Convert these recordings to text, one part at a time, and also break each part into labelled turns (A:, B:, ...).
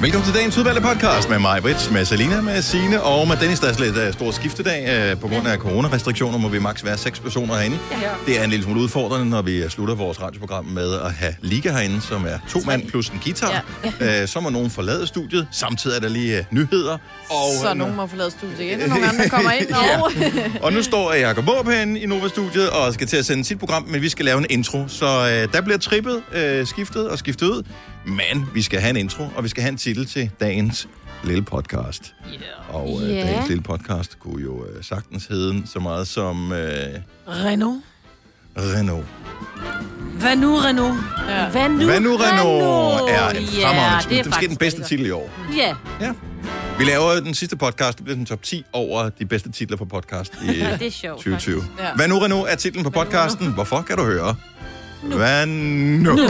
A: Velkommen til dagens udvalgte podcast med mig, Brits, med Selina, med Sine og med Dennis. Der er lidt uh, stor skiftedag. Uh, på grund af coronarestriktioner må vi maks være seks personer herinde.
B: Ja.
A: Det er en lille smule udfordrende, når vi øh, slutter vores radioprogram med at have Liga herinde, som er to mand plus en guitar. Ja. Uh, så må nogen forlade studiet. Samtidig er der lige uh, nyheder. Og,
C: så
A: øh,
C: nogen må forlade studiet igen, og nogle andre kommer ind. Og...
A: og nu står Jacob Aarup herinde i Nova-studiet og skal til at sende sit program, men vi skal lave en intro. Så øh, der bliver trippet, øh, skiftet og skiftet ud. Men vi skal have en intro, og vi skal have en titel til dagens lille podcast. Yeah. Og øh,
C: Ja.
A: yeah. dagens lille podcast kunne jo øh, sagtens hedde så meget som øh,
D: Renault.
A: Renault.
D: Hvad nu, Renault? Ja. Hvad nu,
A: Hvad nu Renault er en fremragende titel.
D: det er
A: det er måske den
D: faktisk
A: bedste
D: lækkert.
A: titel i år.
D: Ja.
A: Vi laver den sidste podcast, det bliver den top 10 over de bedste titler på podcast i øh,
D: det er sjovt,
A: 2020.
D: faktisk.
A: Ja.
D: Ja.
A: Hvad nu, Renault, er titlen på podcasten. Hvorfor kan du høre? Hvad nu? nu.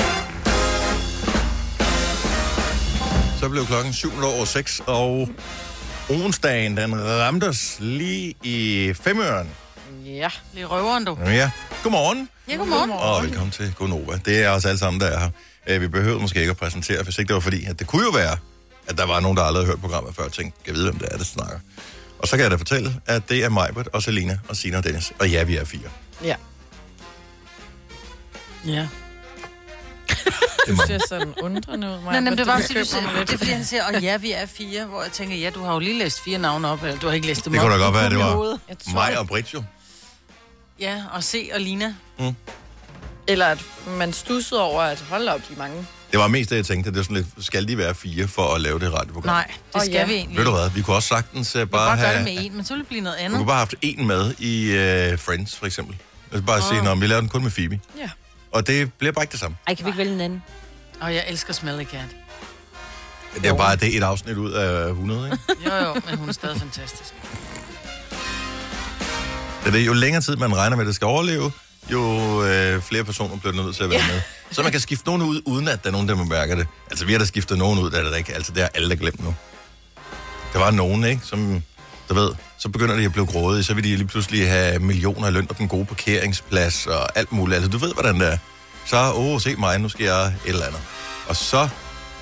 A: Så blev klokken 7 over 6, og onsdagen, den ramte os lige i femøren.
C: Ja, lige røveren du.
A: Ja, godmorgen.
C: Ja, godmorgen.
A: Og velkommen til Gonova. Det er os alle sammen, der er her. Øh, Vi behøver måske ikke at præsentere, hvis ikke det var fordi, at det kunne jo være, at der var nogen, der aldrig havde hørt programmet før, og tænkte, jeg ved, hvem det er, der snakker. Og så kan jeg da fortælle, at det er Majbert og Selina og Sina og Dennis. Og ja, vi er fire.
C: Ja.
D: Ja.
A: Det må-
C: Det er sådan undrende ud, mig.
B: Nej, men det var fordi, du siger, det er fordi, han siger, og ja, vi er fire, hvor jeg tænker, ja, du har jo lige læst fire navne op, eller du har ikke læst dem
A: Det
B: op.
A: kunne da godt
B: kom
A: være,
B: i
A: det var
B: hovedet. Jeg tror-
A: mig og Britt jo.
B: Ja, og se og Lina.
A: Mm.
C: Eller at man stussede over, at hold op, de er mange.
A: Det var mest det, jeg tænkte. Det var sådan lidt, skal de være fire for at lave det radioprogram?
B: Nej, det
C: Åh,
B: skal
C: ja.
B: vi egentlig.
A: Ved du hvad, vi kunne også sagtens uh, bare
B: Bare gøre
A: have...
B: det med en, men så ville det blive noget
A: Vi
B: andet.
A: kunne bare have haft en med i uh, Friends, for eksempel. Altså bare sige, når vi laver den kun med Phoebe.
C: Ja.
A: Og det bliver bare ikke det samme.
D: Ej, kan vi ikke vælge en anden?
B: Og jeg elsker Smelly Cat.
A: Det er bare det er et afsnit ud af 100, ikke?
B: Jo, jo, men hun er stadig fantastisk.
A: Det er jo længere tid, man regner med, at det skal overleve, jo øh, flere personer bliver nødt til at være ja. med. Så man kan skifte nogen ud, uden at der er nogen, der mærker det. Altså, vi har da skiftet nogen ud, der er der ikke. Altså, det har alle der glemt nu. Der var nogen, ikke? Som, du ved, så begynder de at blive grådige, så vil de lige pludselig have millioner i løn og den gode parkeringsplads og alt muligt. Altså, du ved, hvordan det er. Så, åh, oh, se mig, nu skal jeg et eller andet. Og så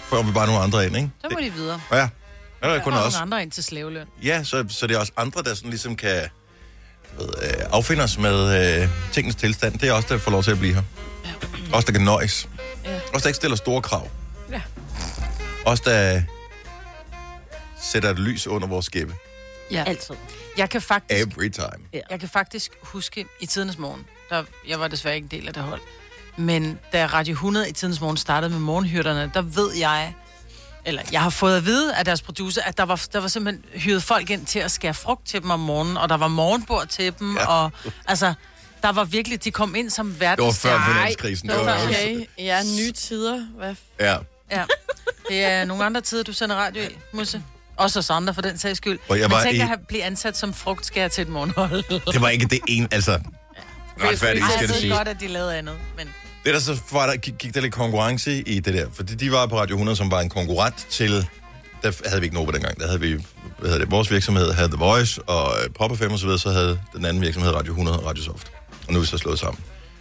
A: får vi bare nogle andre ind, ikke?
B: Så må de videre.
A: Ja, ja det er kun
B: Og
A: os.
B: nogle andre ind til slaveløn.
A: Ja, så, så det er også andre, der sådan ligesom kan jeg ved, øh, affinde os med øh, tingens tilstand. Det er også der får lov til at blive her. Også der kan nøjes. Ja. Også der ikke stiller store krav.
C: Ja.
A: Også der sætter et lys under vores skæbbe.
B: Ja.
D: Altid.
B: Jeg kan faktisk
A: Every time.
B: Jeg kan faktisk huske i tidens morgen, der, jeg var desværre ikke en del af det hold, men da Radio 100 i tidens morgen startede med morgenhyrderne, der ved jeg, eller jeg har fået at vide af deres producer, at der var, der var simpelthen hyret folk ind til at skære frugt til dem om morgenen, og der var morgenbord til dem, ja. og altså, der var virkelig, de kom ind som
A: Det var
B: verdens...
A: før finanskrisen. Det var okay.
C: Okay, ja, nye tider. Hvad f-
A: Ja.
B: Ja. Det er nogle andre tider, du sender radio i, Musse. Også os andre, for den sags skyld.
A: Og jeg
B: Men
A: var
B: tænk
A: i-
B: at have- blive ansat som frugtskærer til et morgenhold.
A: Det var ikke det ene, altså... Retfærdigt,
B: Ej,
A: skal
B: jeg
A: det
B: ved
A: sige.
B: godt, at de lavede andet, men...
A: Det der så var, der gik, gik der lidt konkurrence i det der, fordi de var på Radio 100, som var en konkurrent til, der f- havde vi ikke Nova dengang, der havde vi, hvad hedder det, vores virksomhed havde The Voice, og øh, Pop FM og så videre, så havde den anden virksomhed Radio 100 og Radio Soft. Og nu er vi så slået sammen.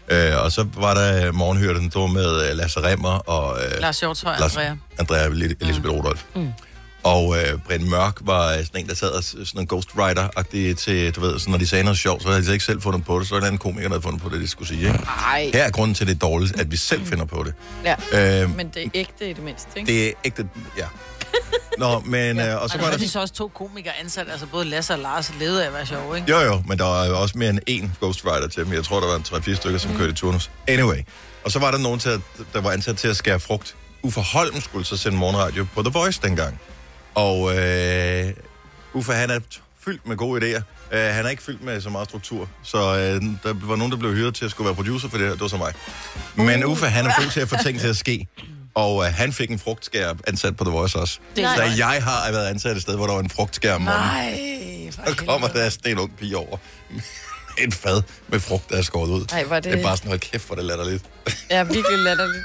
A: Øh, og så var der øh, morgenhyrden, der var med øh, Lasse Remmer og øh,
B: Lars Hjortøj,
A: Lars-
B: Andrea.
A: Andrea Elis- Elisabeth mm. Rudolf. Mm. Og øh, Brian Mørk var øh, sådan en, der sad og s- sådan en ghostwriter-agtig til, du ved, sådan, når de sagde noget sjovt, så havde de ikke selv fundet på det, så var der en anden komiker, der havde fundet på det, de skulle sige. Ikke?
C: Ej.
A: Her er grunden til, at det er dårligt, at vi selv finder på det.
C: Ja.
A: Øh,
C: Men det er ægte i det mindste, ikke?
A: det er ægte... Ja. Nå, men... Øh, og så
B: Så
A: var
B: var
A: der...
B: de så også to komikere ansat, altså både Lasse og Lars levede af at være sjov, ikke?
A: Jo, jo, men der var jo også mere end én ghostwriter til dem. Jeg tror, der var en 3-4 stykker,
B: Mm.
A: som kørte i turnus. Anyway. Og så var der nogen, til at, der var ansat til at skære frugt. Uffe Holm skulle så sende morgenradio på The Voice dengang. Og øh, Uffe, han er fyldt med gode idéer. Uh, han er ikke fyldt med så meget struktur. Så uh, der var nogen, der blev hyret til at skulle være producer for det her. Det var så mig. Men
B: Uh.
A: Uffe, han er god til at få ting til at ske. Og uh, han fik en frugtskær ansat på The Voice også.
D: Det er
A: Så
D: godt.
A: jeg har været ansat et sted, hvor der var en frugtskær om morgenen.
B: Nej, for
A: Og kommer der sådan en ung pige over med et fad med frugt, der er skåret ud.
C: Ej, var det-
A: det er bare sådan, hold kæft, hvor det latterligt.
C: Ja, virkelig latterligt.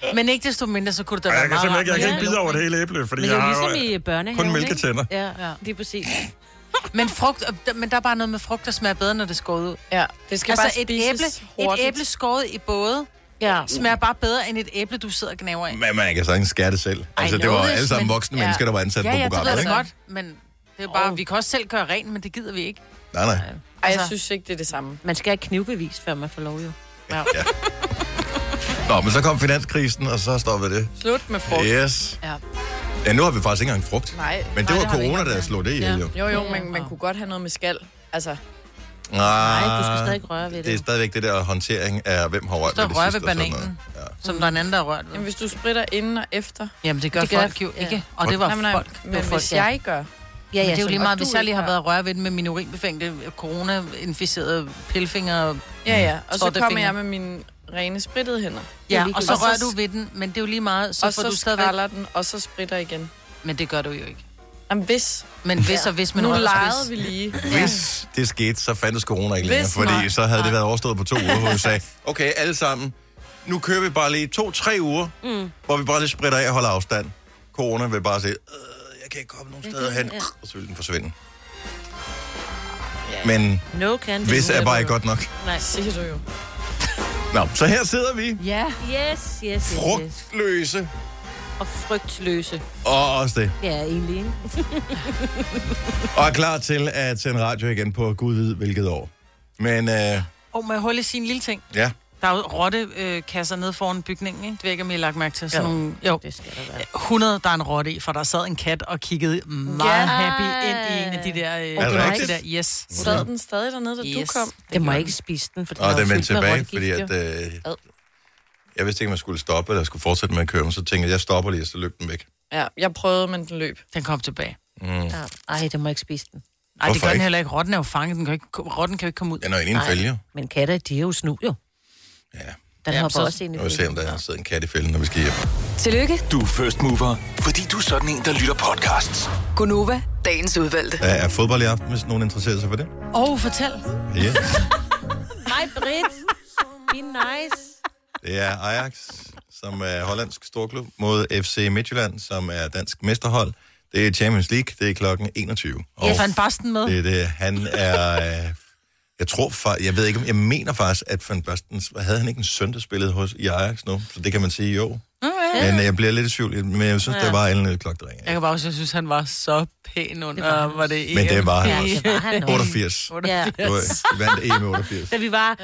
B: helvede. Men ikke desto mindre, så kunne det da
E: Og
B: være
E: jeg kan
B: meget
E: simpelthen ikke, jeg kan
B: rart med
E: ikke bide over det hele æble, fordi
D: Men det
E: jeg
D: er jo
E: har
D: ligesom
E: jo...
A: øh,
E: øh,
D: i børnehaven,
E: kun
D: ikke?
E: mælketænder.
D: Ja,
B: Ja.
D: ja, lige præcis.
B: noget. Men, frugt, øh, men der er bare noget med frugt, der smager bedre, når det er skåret ud.
C: Ja, det skal
B: altså
C: bare
B: et æble,
C: spises
B: et
C: hurtigt.
B: æble skåret i både
D: Ja.
B: Smager bare bedre end et æble, du sidder og gnaver af.
A: Men man kan sagtens skære det selv. Altså, det
B: know
A: var
B: this,
A: alle sammen
B: men-
A: voksne
B: ja.
A: mennesker, der var ansat
B: ja,
A: på
B: ja, det ved
A: programmet,
B: jeg
A: ikke?
B: da godt, men det er bare, oh. vi kan også selv gøre rent, men det gider vi ikke.
A: Nej, nej.
C: Ej, jeg
B: Altså-
C: synes ikke, det er det samme.
D: Man skal have knivbevis, før man får lov jo.
A: Nå, men så kom finanskrisen, og så stoppede det.
C: Slut med frugt. Yeah.
A: Yes.
B: Ja.
A: Ja, nu har vi faktisk ikke engang frugt.
C: Nej.
A: Men det
B: Nej,
A: var
B: det har vi
A: corona,
B: ikke
A: der
B: engang.
A: slog det ihjel,
B: Ja.
A: jo.
C: Jo, jo, men man
B: og-
C: kunne godt have noget med skal. Altså,
D: Nej, du skal stadig røre ved det.
A: Ah, Det er stadig det der håndtering af, hvem har rørt
B: står
A: ved det
B: rører
A: sidste
B: ved
A: og sådan
B: bananen.
A: noget.
B: Som der er en anden, der har rørt ved.
C: jamen, hvis du spritter inden og efter.
B: Jamen, det gør,
D: Det
B: det
D: gør
B: gør folk jo
D: ja.
B: ikke. Og det var
C: Nej,
B: folk.
C: men, nej,
B: Det var
C: men
B: folk,
C: hvis
B: ja.
C: jeg gør,
D: Ja,
B: Men det er jo
D: så-
B: lige
C: og
B: meget,
C: du
B: hvis jeg lige har
C: ikke
B: været rørt ved den med min urinbefængte corona-inficerede pilfinger.
C: ja, ja, og så
B: Tror, Mm. det er
C: kommer jeg med
B: fingre.
D: mine
C: rene sprittede hænder.
B: Ja,
D: ligegyldigt.
B: og så
D: Og så-
B: rører du ved den, men det er jo lige meget, så
C: Så og
B: får
C: så
B: du stadigvæk...
C: skralder den, og så spritter igen.
B: Men det gør du jo ikke.
C: Jamen, hvis.
B: Men hvis og hvis, men
C: nu
B: rører
C: legede
B: hvis.
C: vi lige.
A: Ja. Hvis det skete, så fandtes corona ikke længere,
C: Hvis
A: fordi
C: nej.
A: så havde det været overstået på to uger, hvor vi sagde, okay, alle sammen, nu kører vi bare lige to-tre uger, mm. hvor vi bare lige spritter af og holder afstand. Corona vil bare sige, "Øh, jeg kan ikke komme nogen steder hen, og så vil den forsvinde. Men
D: No can do.
A: hvis er bare ikke godt nok.
D: Nej.
C: Siger du jo.
A: Nå, så her sidder vi,
B: Ja.
D: Yes, yes, yes, yes.
A: frugtløse,
D: Og frygtløse.
A: og også det.
D: Ja, egentlig, ikke?
A: Og er klar til at sende radio igen på Gud ved hvilket år. Men øh,
B: Og må jeg holde sin lille ting?
A: ja,
B: Der er jo rottekasser nede foran bygningen, ikke? Det ved jeg ikke, om I har lagt mærke til. Sådan
D: Jo.
B: nogle, jo.
D: Det skal der være.
B: 100, der er en rotte i, for der sad en kat og kiggede meget
D: Ja.
B: happy ind i en af de der... Øh,
A: Er det
B: rotter
A: rigtigt?
B: der. Yes.
C: Sad den stadig dernede, da
B: yes.
C: du kom?
D: Jeg må ikke spise den, for den
A: og
D: er
A: den
D: jo
A: vendte
D: fyldt med
A: tilbage,
D: rottegift,
A: fordi
D: jo.
A: at, øh, jeg vidste ikke, om jeg skulle stoppe, eller jeg skulle fortsætte med at køre, men så tænkte jeg, jeg stopper lige, og så løb den væk. Mm.
C: Ja, jeg prøvede, men den løb.
B: Den kom tilbage.
D: Ja. Ej, den må ikke spise den.
B: Nej, det
A: Hvorfor
B: gør den
A: ikke?
B: heller ikke. Rotten er jo fanget. Den kan jo ikke, rotten kan jo ikke komme ud.
A: Den er jo inde i en
D: Nej.
A: fælge. jo.
D: Men katte, de er jo snu, jo.
A: Ja,
D: Den
B: Ja,
D: hopper
B: så-
D: også ind i
A: jeg vil se, om der sidder en kat i fælden, når vi skal hjem.
E: Tillykke,
F: Du er first mover, fordi du er sådan en, der lytter podcasts.
E: Gunova, dagens udvalgte.
A: Der er fodbold i aften, hvis nogen interesserer sig for det.
B: Åh, oh, fortæl.
A: Ja,
D: Nej, Britt. Be nice.
A: det er Ajax, som er hollandsk storklub, mod FC Midtjylland, som er dansk mesterhold. Det er Champions League, det er klokken 21. Og
B: Jeg fandt Basten med.
A: Det er det. Han er... øh, Jeg tror far, jeg ved ikke, om jeg mener faktisk, at Van Basten, havde han ikke en søn, der spillede hos i Ajax nu? Så det kan man sige jo.
B: Mm,
A: Men øh, jeg bliver lidt i tvivl, men jeg synes, ja. der var en lille klokke, der ringede.
B: Jeg kan bare også, jeg synes, han var så pæn under, det var, var det E EM.
A: Men det var han
D: Ja,
A: også.
D: det var han også.
A: 88.
D: Ja.
A: Det var- vandt EM i 88.
D: Da vi var
B: han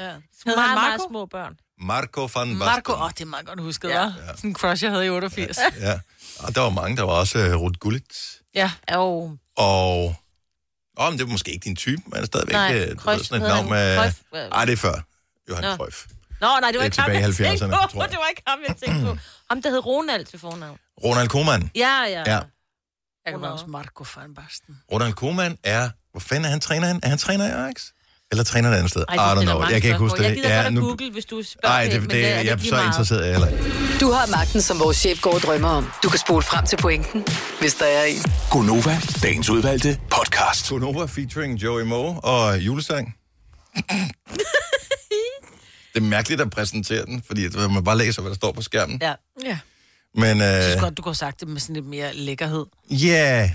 D: meget, meget,
B: Marco?
D: små børn.
A: Marco van Basten.
B: Marco, åh, oh, det er meget godt husket, ja. var. Sådan en crush, jeg havde i 88. Ja.
A: Ja. Og der var mange, der var også uh, Ruth Gullit.
B: ja.
D: Jo,
A: Og... Åh, men det var måske ikke din type, men stadigvæk
D: Nej,
A: øh, du ved,
D: Cruyff
A: sådan et
D: hedder
A: navn
D: han.
A: med...
D: Cruyff, øh.
A: Ej, det er før. Johan
D: Nå.
A: Cruyff.
D: Nå, nej, det var
A: Det er
D: ikke ham,
A: tilbage i
D: jeg tænkte
A: 70'erne,
D: på.
A: tror jeg.
D: Det var ikke ham, jeg tænkte på. Ham, der hed Ronald til fornavn.
A: Ronald Koeman.
D: Ja, ja.
A: Ja.
B: Jeg kan bare huske Marco van Basten.
A: Ronald Koeman er... Hvor fanden er han træner han? Er han træner i Ajax? Eller træner et andet sted? Ej, I don't know. Jeg kan ikke huske det.
D: Jeg gider
A: ja,
D: godt at google, hvis du spørger.
A: Nej, det, det,
D: men
A: det,
D: er
A: jeg er
D: lige
A: så
D: meget.
A: interesseret jeg heller ikke.
E: Du har magten, som vores chef går og drømmer om. Du kan spole frem til pointen, hvis der er en.
F: Gonova, dagens udvalgte podcast.
A: Sonova featuring Joey Moe og julesang. det er mærkeligt at præsentere den, fordi at man bare læser, hvad der står på
D: Mm.
A: skærmen.
B: Ja,
C: Ja.
A: Men
B: jeg synes
A: øh,
B: godt, du kunne have sagt det med sådan lidt mere lækkerhed.
A: ja,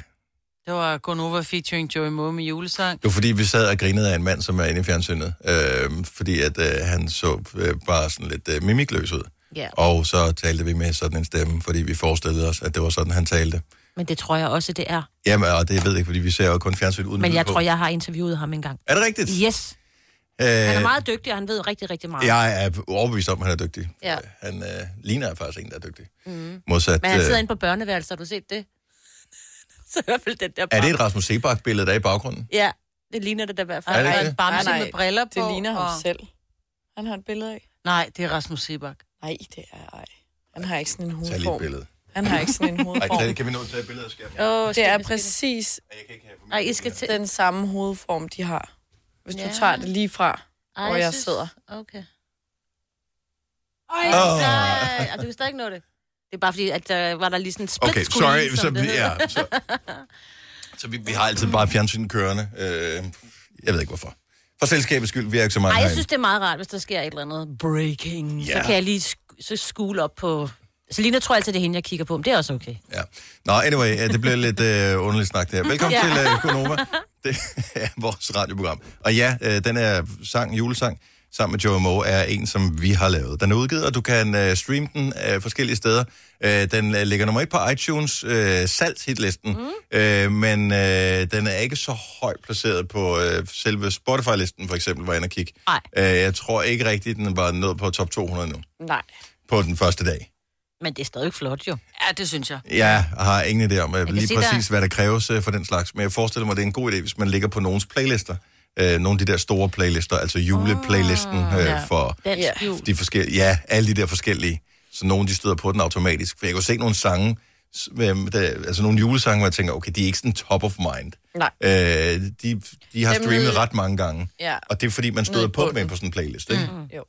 B: Det var Gonova featuring Joey Moe med julesang.
A: Det var fordi, vi sad og grinede af en mand, som er inde i fjernsynet. Øh, fordi at øh, han så øh, bare sådan lidt øh, mimikløs ud.
D: Ja.
A: Og så talte vi med sådan en stemme, fordi vi forestillede os, at det var sådan, han talte.
D: Men det tror jeg også, det er.
A: Jamen, og det ved jeg ikke, fordi vi ser jo kun fjernsyn uden
D: Men
A: lyd
D: jeg
A: på.
D: tror, jeg har interviewet ham engang.
A: Er det rigtigt?
D: Yes.
A: Øh,
D: Han er meget dygtig, og han ved rigtig, rigtig meget.
A: Jeg er overbevist om, at han er dygtig.
D: Ja.
A: Han øh, ligner faktisk en, der er dygtig. Mm. Modsat,
D: Men han sidder
A: øh,
D: inde på børneværelset, har du set det? Så i hvert fald den der
A: øh, er det
D: barn-
A: et Rasmus Sebak-billede, der er i baggrunden?
D: Ja, det ligner det der i hvert fald.
A: Er det
B: Der
A: ikke
B: en bamse
C: Nej, nej,
B: med briller på.
C: Det ligner ham
B: og-
C: selv. Han har et billede af.
B: Nej, det er Rasmus Sebak.
C: Nej, det er ej. Han har ikke sådan en
A: Tag lige et
C: hovedform.
A: billede.
C: Han har ikke sådan en
A: Ej,
C: hovedform.
A: kan- kan vi nå at tage et billede af skærmen?
D: Åh,
C: Det er
D: skal-
C: præcis
A: Ej, jeg kan ikke have for
D: Ej,
A: meget.
D: I skal til...
C: den samme hovedform, de har. Hvis du
D: Ja.
C: tager det lige fra,
D: Ej,
C: hvor jeg
D: synes-
C: sidder.
D: Okay. Ej,
A: Åh.
D: nej, og du kan stadig ikke nå det. Det er bare fordi, at der var der lige sådan en split
A: Okay,
D: screen,
A: sorry.
D: som
A: Så,
D: det
A: vi,
D: hedder.
A: ja, så, så vi, vi har altid bare fjernsyn kørende. Øh, jeg ved ikke hvorfor. For selskabets skyld, vi er ikke så mange
D: Ej, jeg
A: herinde.
D: synes, det er meget rart, hvis der sker et eller andet breaking.
A: Ja.
D: Så kan jeg lige sk- så skule op på... Så Lina tror altid, det er hende, jeg kigger på, men det er også okay.
A: Ja. Nå, anyway, øh, det bliver lidt øh, underligt snak det her. Velkommen ja.
D: Ja.
A: til øh, Konoma. Det er vores radioprogram. Og ja, øh, den her øh, sang, julesang, sammen med Joey Moe, er en, som vi har lavet. Den er udgivet, og du kan øh, streame den øh, forskellige steder. Øh, den øh, ligger nummer et på iTunes øh, salgshitlisten, mm. øh, men øh, den er ikke så højt placeret på øh, selve Spotify-listen, for eksempel, hvor jeg inde og kigge.
D: Nej.
A: Øh, jeg tror ikke rigtigt, den var nået på top 200 nu,
C: Nej.
A: på den første dag.
D: Men det er stadig flot, jo.
B: Ja, det synes jeg.
A: Jeg har ingen idé om øh, lige
D: sige,
A: præcis, hvad der kræves øh, for den slags, men jeg forestiller mig, det er en god idé, hvis man ligger på nogens playlister. Øh, nogle af de der store playlister, altså juleplaylisten
G: Ah,
A: øh,
B: ja.
A: for
D: Dansk
C: Ja.
D: jul.
A: de forskellige, ja, alle de der forskellige. Så nogle, de støder på den automatisk. For jeg kunne se nogle sange, s- hvem der, altså nogle julesange, hvor jeg tænker, okay, de er ikke sådan top of mind.
C: Nej.
A: Øh, de, de har
C: Dem
A: streamet
C: nede-
A: ret mange gange.
C: Ja.
A: Og det er fordi, man støder
C: i
A: på dem
C: bunden.
A: på sådan en playlist, ikke? Mm.
C: Jo.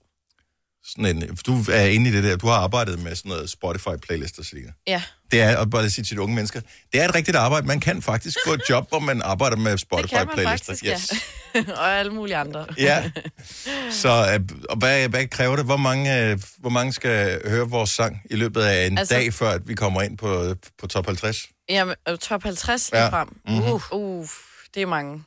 A: Sådan en, du er inde i det der, du har arbejdet med sådan noget Spotify-playlister, Selina.
C: Ja.
A: Det er, og bare sige til de unge mennesker, det er et rigtigt arbejde. Man kan faktisk få et job, hvor man arbejder med
C: Det kan man
A: Spotify-playlister.
C: faktisk, yes. ja. og alle mulige andre.
A: ja. Så øh, og hvad, hvad kræver det? Hvor mange, øh, hvor mange skal høre vores sang i løbet af en altså,
C: Altså-
A: dag, før at vi kommer ind på, på top 50?
C: Jamen, øh, top 50
A: Ja.
C: lige frem.
A: Mhm.
C: Uh, uh, det er mange.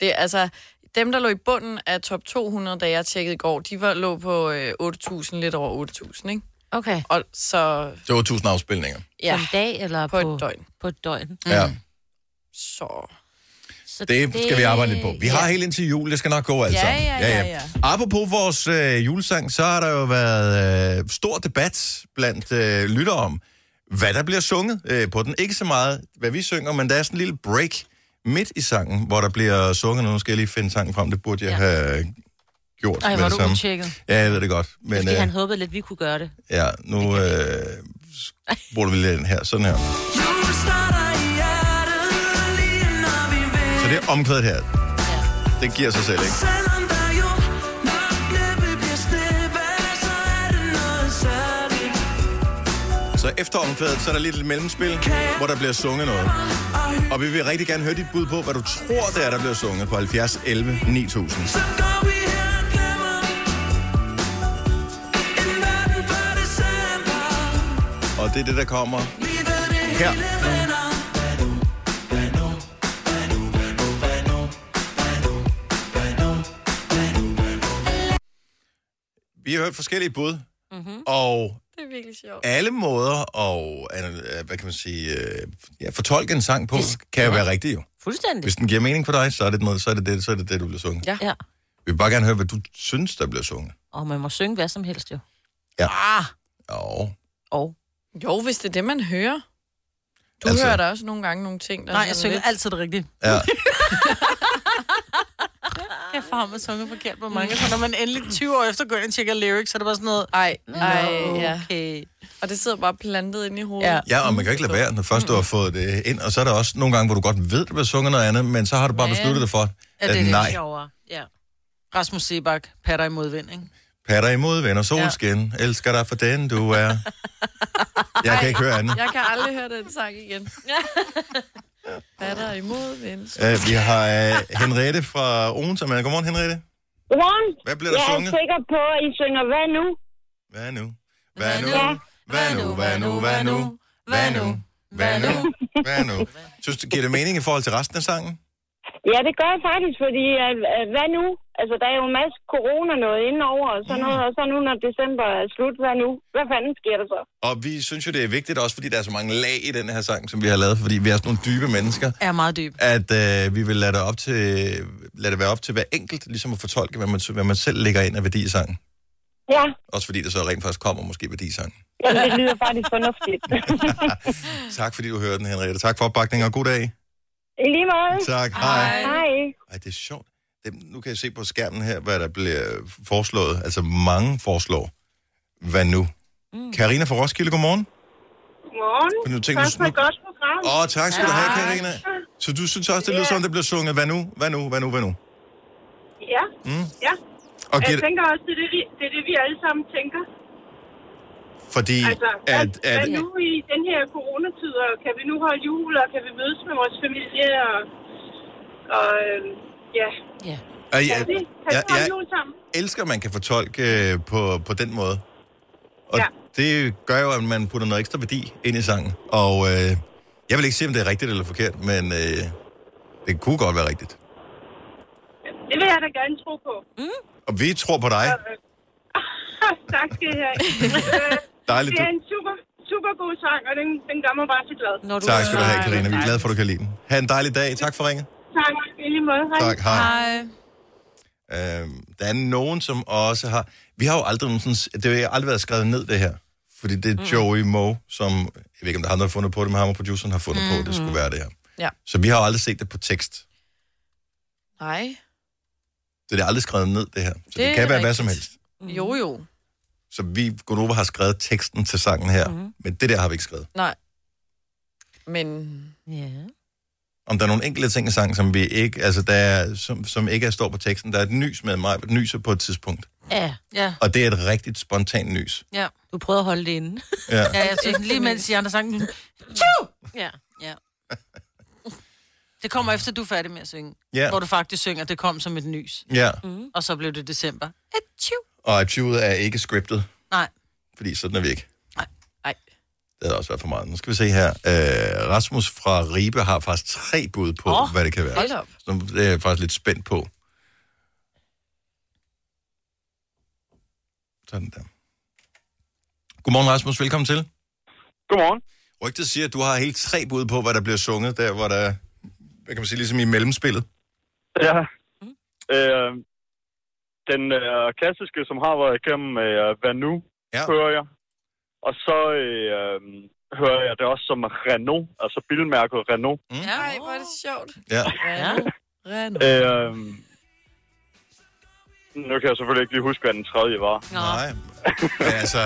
C: Det er altså... Dem, der lå i bunden af top 200, da jeg tjekkede i går, de var, lå på øh, 8.000, lidt over 8.000, ikke?
D: Okay.
C: Og så,
A: Det var 1000 afspilninger.
D: På
C: ja,
D: en dag eller
C: på et døgn.
D: På et døgn.
A: Mm. Ja.
C: Så...
D: Så
A: Det skal vi arbejde lidt på. Vi har helt indtil jul, det skal nok gå alt
C: Ja,
A: sammen.
C: ja, ja, ja.
A: Apropos vores øh, julesang, så har der jo været øh, stor debat blandt øh, lyttere om, hvad der bliver sunget øh, på den. Ikke så meget, hvad vi synger, men der er sådan en lille break midt i sangen, hvor der bliver sunget. Nu skal jeg lige finde sangen frem, det burde jeg ja. have gjort
B: Ej,
A: med
B: hvor er
A: det
B: du
A: samme.
B: utjekket.
A: Ja, jeg ved det godt.
D: Men,
A: Men
D: fordi han
A: øh,
D: håbede lidt, vi kunne gøre det.
A: ja, nu øh, bruger vi lige den her. Sådan her. Så det er omkvædet her. Det giver sig selv, ikke? Så efter omkvædet, så er der lidt et mellemspil, hvor der bliver sunget noget. Og vi vil rigtig gerne høre dit bud på, hvad du tror, det er, der bliver sunget på 70 11 9000. Og det er det, der kommer her. Vi har hørt forskellige bud, mm-hmm. og
C: Mhm. Det er virkelig sjovt.
A: alle måder og hvad kan man sige, øh, ja, fortolke en sang på, kan jo være rigtigt jo.
D: Fuldstændig.
A: Hvis den giver mening for dig, så er det noget, så er det det, så er det, det du bliver sunget.
C: Ja.
D: Ja.
A: Vi vil bare gerne høre, hvad du synes, der bliver sunget.
D: Og man må synge hvad som helst, jo.
C: Ah.
A: Jo.
D: Og
C: Jo, hvis det er det, man hører.
A: Altså-
C: Du altså... hører da også nogle gange nogle ting, der
B: Nej,
C: er
B: jeg
C: sådan
B: synger
C: lidt-
B: altid det rigtige.
A: Ja.
B: Jeg har mig sunget forkert på
D: Mm.
B: mange. Så når man endelig 20 år efter går ind og tjekker lyrics, så er det bare sådan noget...
C: Ej, ej, ja.
B: Okay.
C: Og det sidder bare plantet inde i hovedet.
B: Ja.
A: ja, og man kan ikke lade være, når først du har fået det ind. Og så er der også nogle gange, hvor du godt ved, der bliver sunget noget andet, men så har du bare
B: Men-
A: besluttet dig for,
B: Er det
A: at
B: lidt
A: nej,
B: sjovere? Ja. Rasmus Sebak, patter imod vind, ikke?
A: patter imod venner solskin, elsker dig for den, du er. Jeg kan ikke høre andet.
C: Jeg kan aldrig høre den sang igen. Hvad er der imod, ven?
A: Uh, vi har uh, Henriette fra Odense med. Godmorgen, Henriette.
H: Godmorgen.
A: Hvad bliver der
H: Jeg
A: sunget?
H: er sikker på, at I synger, hvad nu?
A: Hvad nu? Hvad nu?
H: Ja.
A: Hvad nu? Hvad nu? Hvad nu? Hvad nu? Hvad nu? Hvad nu? Synes du, giver det mening i forhold til resten af sangen?
H: Ja, det gør jeg faktisk, fordi at, at, hvad nu? Altså, der er jo en masse corona noget indenover og sådan noget, og så nu, når december er slut, hvad nu? Hvad fanden sker der så?
A: Og vi synes jo, det er vigtigt også, fordi der er så mange lag i den her sang, som vi har lavet, fordi vi er sådan nogle dybe mennesker,
B: Er meget dyb.
A: at øh, vi vil lade det, op til, lade det være op til hver enkelt, ligesom at fortolke, hvad man, hvad man selv lægger ind af værdi i sangen.
H: Ja,
A: Også fordi der så rent faktisk kommer måske værdi i sangen.
H: jamen, det lyder faktisk fornuftigt.
A: Tak fordi du hørte den, Henriette. Tak for opbakningen, og god dag.
H: I lige måde.
A: Tak. Hej.
H: Hej.
A: Ej, det er sjovt. Det, nu kan jeg se på skærmen her, hvad der bliver foreslået. Altså mange foreslår. Hvad nu? Karina fra Roskilde, godmorgen.
H: Godmorgen.
A: Men nu tænker
H: Tak
A: du
H: for
A: sådan-
H: et godt program.
A: Åh, oh, tak skal du have, Karina. Så du synes også, det lyder som, det bliver sunget, hvad nu, hvad nu, hvad nu, hvad nu?
H: Ja,
A: Mm.
H: ja.
A: Og
H: Jeg
A: giver, det-
H: tænker også, det er det, vi- det, er det vi alle sammen tænker.
A: fordi,
H: Altså, hvad,
A: at, at,
H: hvad nu i den her coronatid, og kan vi nu holde jul, og kan vi mødes med vores familie, og, og øhm, ja,
D: ja.
A: at,
H: kan
A: jeg,
H: vi, kan vi
A: jeg,
H: holde
A: jeg
H: jul sammen?
A: elsker, at man kan fortolke øh, på, på den måde. Og
H: Ja.
A: det gør jo, at man putter noget ekstra værdi ind i sangen. Og øh, jeg vil ikke sige, om det er rigtigt eller forkert, men øh, det kunne godt være rigtigt.
H: Det vil jeg da gerne tro på.
A: Og vi tror på dig.
H: tak skal I have. Øh,
A: Dejligt,
H: det
A: du.
H: er en super, super god sang, og den, den gør mig bare så glad.
I: Når du
A: Tak skal du have, Karina. Vi er glade for, at du kan lide den. Ha' en dejlig dag. Tak for ringet.
H: Tak, i lige måde. Hej.
A: Tak. Hej.
D: Hej.
A: Øhm, der er nogen, som også har... Vi har jo aldrig nogen sådan... Det har aldrig været skrevet ned, det her. Fordi det er Joey Moe, som... Jeg ved ikke, om der er andre, der har fundet på det, men ham og produceren har fundet mm-hmm. på, at det skulle være det her.
C: Ja.
A: Så vi har jo aldrig set det på tekst.
C: Nej.
A: Så det er aldrig skrevet ned, det her. Så det,
C: Det
A: det
C: er
A: kan være hvad
C: rigtigt.
A: som helst.
C: Jo, jo.
A: Så vi, Gunova, har skrevet teksten til sangen her.
C: Mhm.
A: Mm-hmm. Men det der har vi ikke skrevet.
C: Nej. Men
I: Ja.
A: Om der er nogle enkelte ting i sangen, som vi ikke... Altså, der er, som, som ikke er står på teksten. Der er et nys med mig, et nyser på et tidspunkt.
I: ja.
D: Ja,
A: Og det er et rigtigt spontant nys.
D: ja.
I: Du prøvede at holde det inde.
A: Ja.
D: Ja, jeg synes, lige mens de andre sang,
I: ja.
D: ja. Det kommer efter, du er færdig med at synge.
A: Ja.
D: Hvor du faktisk synger, det kom som et nys.
A: ja.
C: Mhm.
D: Og så blev det december. Atchoo.
A: Og arkivet er ikke scriptet,
D: Nej.
A: fordi sådan er vi ikke.
C: nej.
A: Det har også været for meget. Nu skal vi se her. Øh, Rasmus fra Ribe har faktisk tre bud på, oh, hvad det kan være.
C: Hold da op.
A: Så det er jeg faktisk lidt spændt på. Sådan der. Godmorgen, Rasmus. Velkommen til.
J: Godmorgen.
A: Rygtet siger, at du har helt tre bud på, hvad der bliver sunget, der hvor der, hvad kan man sige, ligesom i mellemspillet.
J: Ja. Øh, den øh, klassiske, som har været igennem, øh, hvad nu,
A: Ja.
J: hører jeg. Og så øh, hører jeg det også som Renault, altså bilmærket Renault.
A: Mm.
D: Ja.
C: Nej, hvor er det sjovt.
A: Ja.
I: ja.
C: Renault.
J: Øh, nu kan jeg selvfølgelig ikke lige huske, hvad den tredje var.
I: Nå,
A: Nej. Men altså,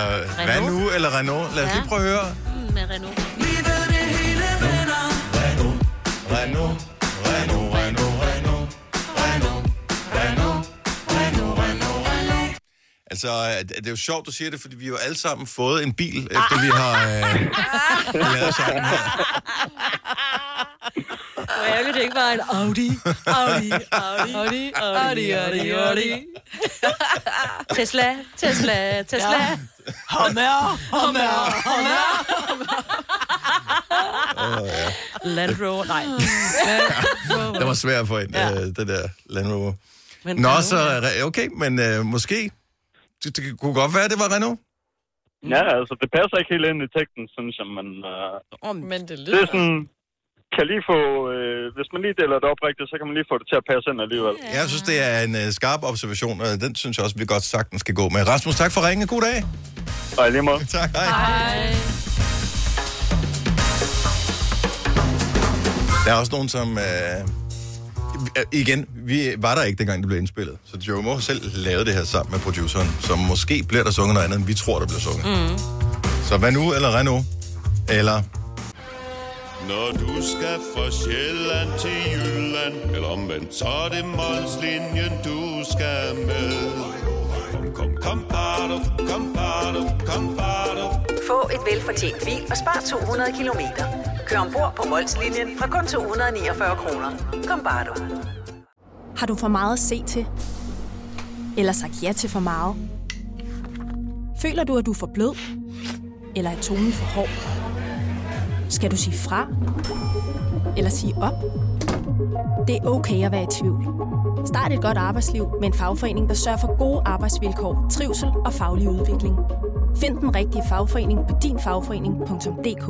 A: hvad nu eller Renault? Lad os lige
I: Ja.
A: prøve at høre.
I: med Renault.
A: Renault, Renault, Renault, Renault, Renault, Renault, Renault, Renault, Renault. Altså, det det er jo sjovt, du siger det, fordi vi har jo alle sammen fået en bil, efter vi har øh, lavet sangen her.
I: Hvor ærgerligt, det ikke var en Audi. Audi, Audi, Audi, Audi, Audi, Audi. Tesla, Tesla, Tesla. Ja. Land Rover, nej.
A: Det var svært for en, øh, det der Land Rover.
I: Men
A: Nå, så øh, okay, men øh, måske. Det, det kunne godt være, det var Renault.
J: Ja, altså, det passer ikke helt ind i teksten, synes jeg, men øh,
C: Men det
J: det
C: lyder...
J: er sådan, kan lige få, øh, hvis man lige deler det op rigtigt, så kan man lige få det til at passe ind alligevel.
A: Jeg synes, det er en øh, skarp observation, og den synes jeg også, vi godt sagtens skal gå med. Rasmus, tak for ringen. God dag.
J: Og i lige måde.
A: Tak, hej. hej. Der er også nogen, som... Øh, øh, igen, vi var der ikke, dengang det blev indspillet. Så Joe Moe har selv lavede det her sammen med produceren, så måske bliver der sunget noget andet, end vi tror, der bliver sunget. Mm. Så hvad nu, eller Renault, eller...
K: Når du skal fra Sjælland til Jylland, eller omvendt, så er det Molslinjen, du skal med. Kom, kom, kom, bado, kom, bado, kom, bado.
B: Få et velfortjent bil og spar 200 kilometer. Kør ombord på Molslinjen fra kun 249 kroner. Kom bare du.
L: Har du for meget at se til? Eller sagt ja til for meget? Føler du, at du er for blød? Eller er tonen for hård? Skal du sige fra? Eller sige op? Det er okay at være i tvivl. Start et godt arbejdsliv med en fagforening, der sørger for gode arbejdsvilkår, trivsel og faglig udvikling. Find den rigtige fagforening på dinfagforening.dk.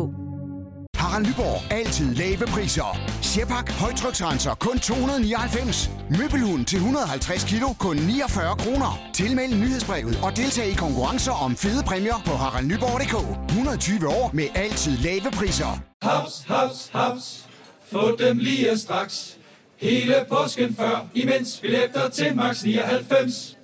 F: Harald Nyborg. Altid lave priser. Sjehpak. Højtryksrenser. Kun 299. Møbelhund til 150 kilo. Kun 49 kroner. Tilmeld nyhedsbrevet og deltag i konkurrencer om fede præmier på haraldnyborg.dk. 120 år med altid lave priser.
M: Haps, haps, haps. Få dem lige straks. Hele påsken før, imens billetter til max 99.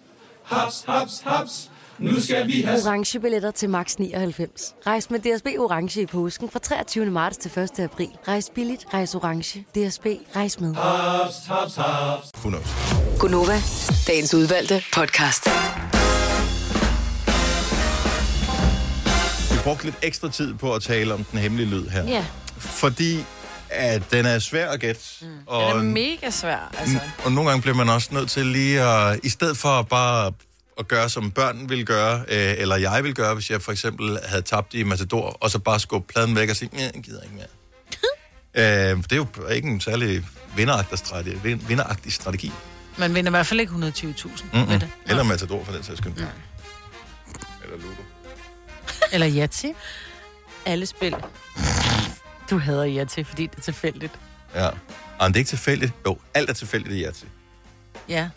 M: Haps, haps, haps. Nu skal vi have...
L: Orange billetter til max 99. Rejs med DSB Orange i påsken fra 23. marts til 1. april. Rejs billigt, rejs orange. DSB, rejs med.
M: Ah,
A: Who knows?
E: Gunova, dagens udvalgte podcast.
A: Vi brugte lidt ekstra tid på at tale om den hemmelige lyd her.
I: Ja.
A: Fordi at den er svær at gætte. Mm. Og, Mm.
C: Den er mega svær, altså.
A: og nogle gange bliver man også nødt til lige at... I stedet for bare at gøre, som børn ville gøre, øh, eller jeg ville gøre, hvis jeg for eksempel havde tabt i Matador, og så bare skubbe pladen væk og sige, nej, jeg gider ikke mere. øh, det er jo ikke en særlig vinderagtig strategi. Vin- vinderagtig strategi.
B: Man vinder i hvert fald ikke 120.000
A: Mm-mm.
B: ved det.
A: Eller Matador for den sags skyld.
B: Ja.
A: Eller Ludo.
B: Eller Yatzy. Alle spil. Du hader Yatzy, fordi det er tilfældigt.
A: Ja. Ej, men det er ikke tilfældigt. Jo, alt er tilfældigt i Yahtzee.
B: Ja.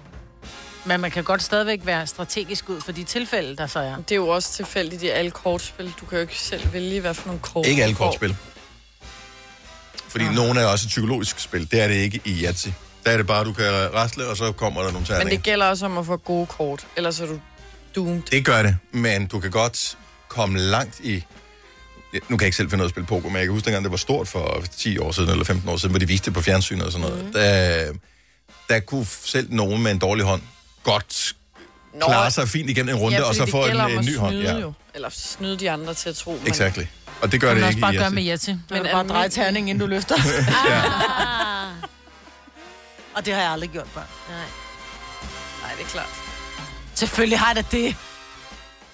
B: Men man kan godt stadigvæk være strategisk ud for de tilfælde, der så er.
C: Det er jo også tilfældigt i alle kortspil. Du kan jo ikke selv vælge, hvad for nogle kort
A: Ikke alle
C: du får.
A: kortspil. Fordi nogle er også et psykologisk spil. Det er det ikke i Yahtzee. Der er det bare, du kan rasle, og så kommer der nogle terninger.
C: Men det gælder også om at få gode kort, ellers er du doomed.
A: Det gør det, men du kan godt komme langt i... Ja, Nu kan jeg ikke selv finde ud af at spille poker, men jeg kan huske dengang, det var stort for 10 år siden, eller 15 år siden, hvor de viste det på fjernsynet og sådan noget. Mm. Der, der kunne selv nogen med en dårlig hånd godt Nå. klare sig fint igennem en runde,
C: ja,
A: og
C: fordi
A: så
C: det
A: få en,
C: gælder om
A: en
C: at
A: ny hånd.
C: snyde
A: Ja,
C: Jo. Eller snyde de andre til at tro, man...
A: exactly. Og det gør
B: kan
A: det
B: man
A: ikke
B: også bare
A: i
B: gøre
A: Yahtzee.
B: med Yatzy. Du
C: Men
B: kan
C: er
B: bare
C: det
B: dreje
C: min-
B: terningen, inden du løfter.
A: Ja.
B: Ah. Og det har jeg aldrig gjort, børn.
D: Nej.
C: Nej, det er klart.
B: Selvfølgelig har jeg da det.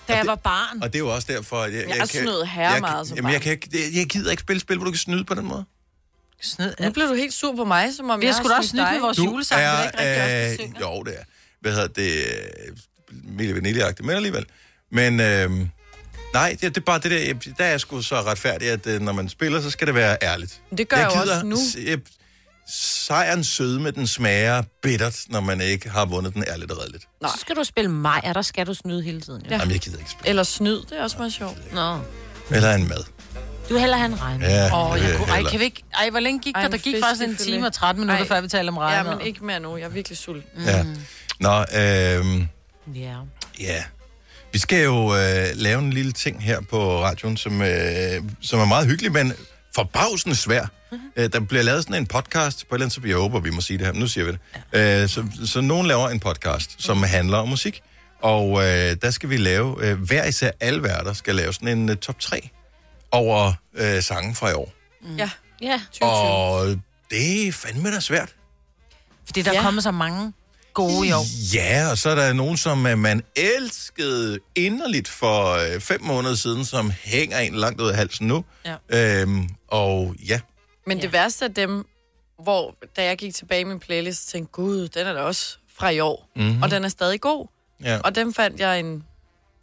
B: Da jeg var barn.
A: Og det er jo også derfor, at jeg,
B: Jeg har snøet herre
A: jeg,
C: meget som
A: jamen, jeg,
C: barn.
A: kan, ikke- jeg, jeg gider ikke spille spil, hvor du kan snyde på den måde.
B: Snød
C: Nu blev du helt sur på mig, som om
B: Vi har
C: jeg
B: sgu da også snydt med vores
A: Du
B: julesang. Det er da ikke rigtig
A: øh, Jo, det er. Hvad hedder det? Mille vaniljeagtigt, men alligevel. Men øh, nej, det, det er bare det der, jeg- der er jeg sgu så retfærdig, at øh, når man spiller, så skal det være ærligt.
C: Men det gør jeg jo også nu.
A: s- Jeg, sejren søde med den smager bittert, når man ikke har vundet den ærligt og redeligt.
D: Nej. Så skal du spille Maja, der skal du snyde hele tiden.
A: Jamen, jeg gider ikke spille.
C: Eller snyd, det er også meget sjovt.
D: Nå.
A: Eller en mad.
D: Du heller han regn.
A: Ja,
B: Åh,
A: det vil
B: jeg kunne, ej,
A: hellere.
B: kan vi ikke... Ej, hvor længe gik
C: Ej,
B: der?
C: en
B: Der gik
C: fisk
B: faktisk en
C: selvfølgelig.
B: time og 13 minutter,
C: Ej. Mm.
B: før vi talte om
C: Ja,
B: regn.
C: men ikke mere nu. Jeg er virkelig sulten.
A: Ja. Nå, øh,
D: Ja.
A: Ja. Vi skal jo øh, lave en lille ting her på radioen, som, øh, som er meget hyggelig, men forbavsende svær. Øh, der bliver lavet sådan en podcast, på et eller andet, så jeg håber, vi må sige det her, men nu siger vi det. Øh, så, så nogen laver en podcast, som handler om musik, og øh, der skal vi lave, øh, hver især alle værter skal lave sådan en øh, top 3 over øh, sange fra i år.
B: Mm.
C: Ja.
D: Ja.
A: Og det er fandme da svært.
B: Fordi der ja. kommer så mange gode i år.
A: Ja, og så er der nogen, som øh, man elskede inderligt for øh, fem måneder siden, som hænger en langt ud af halsen nu.
B: Ja.
A: Øhm, og ja,
C: Men det værste af dem, hvor da jeg gik tilbage i min playlist, tænkte gud, den er da også fra i år.
A: Mhm.
C: Og den er stadig god.
A: ja.
C: Og dem fandt jeg en...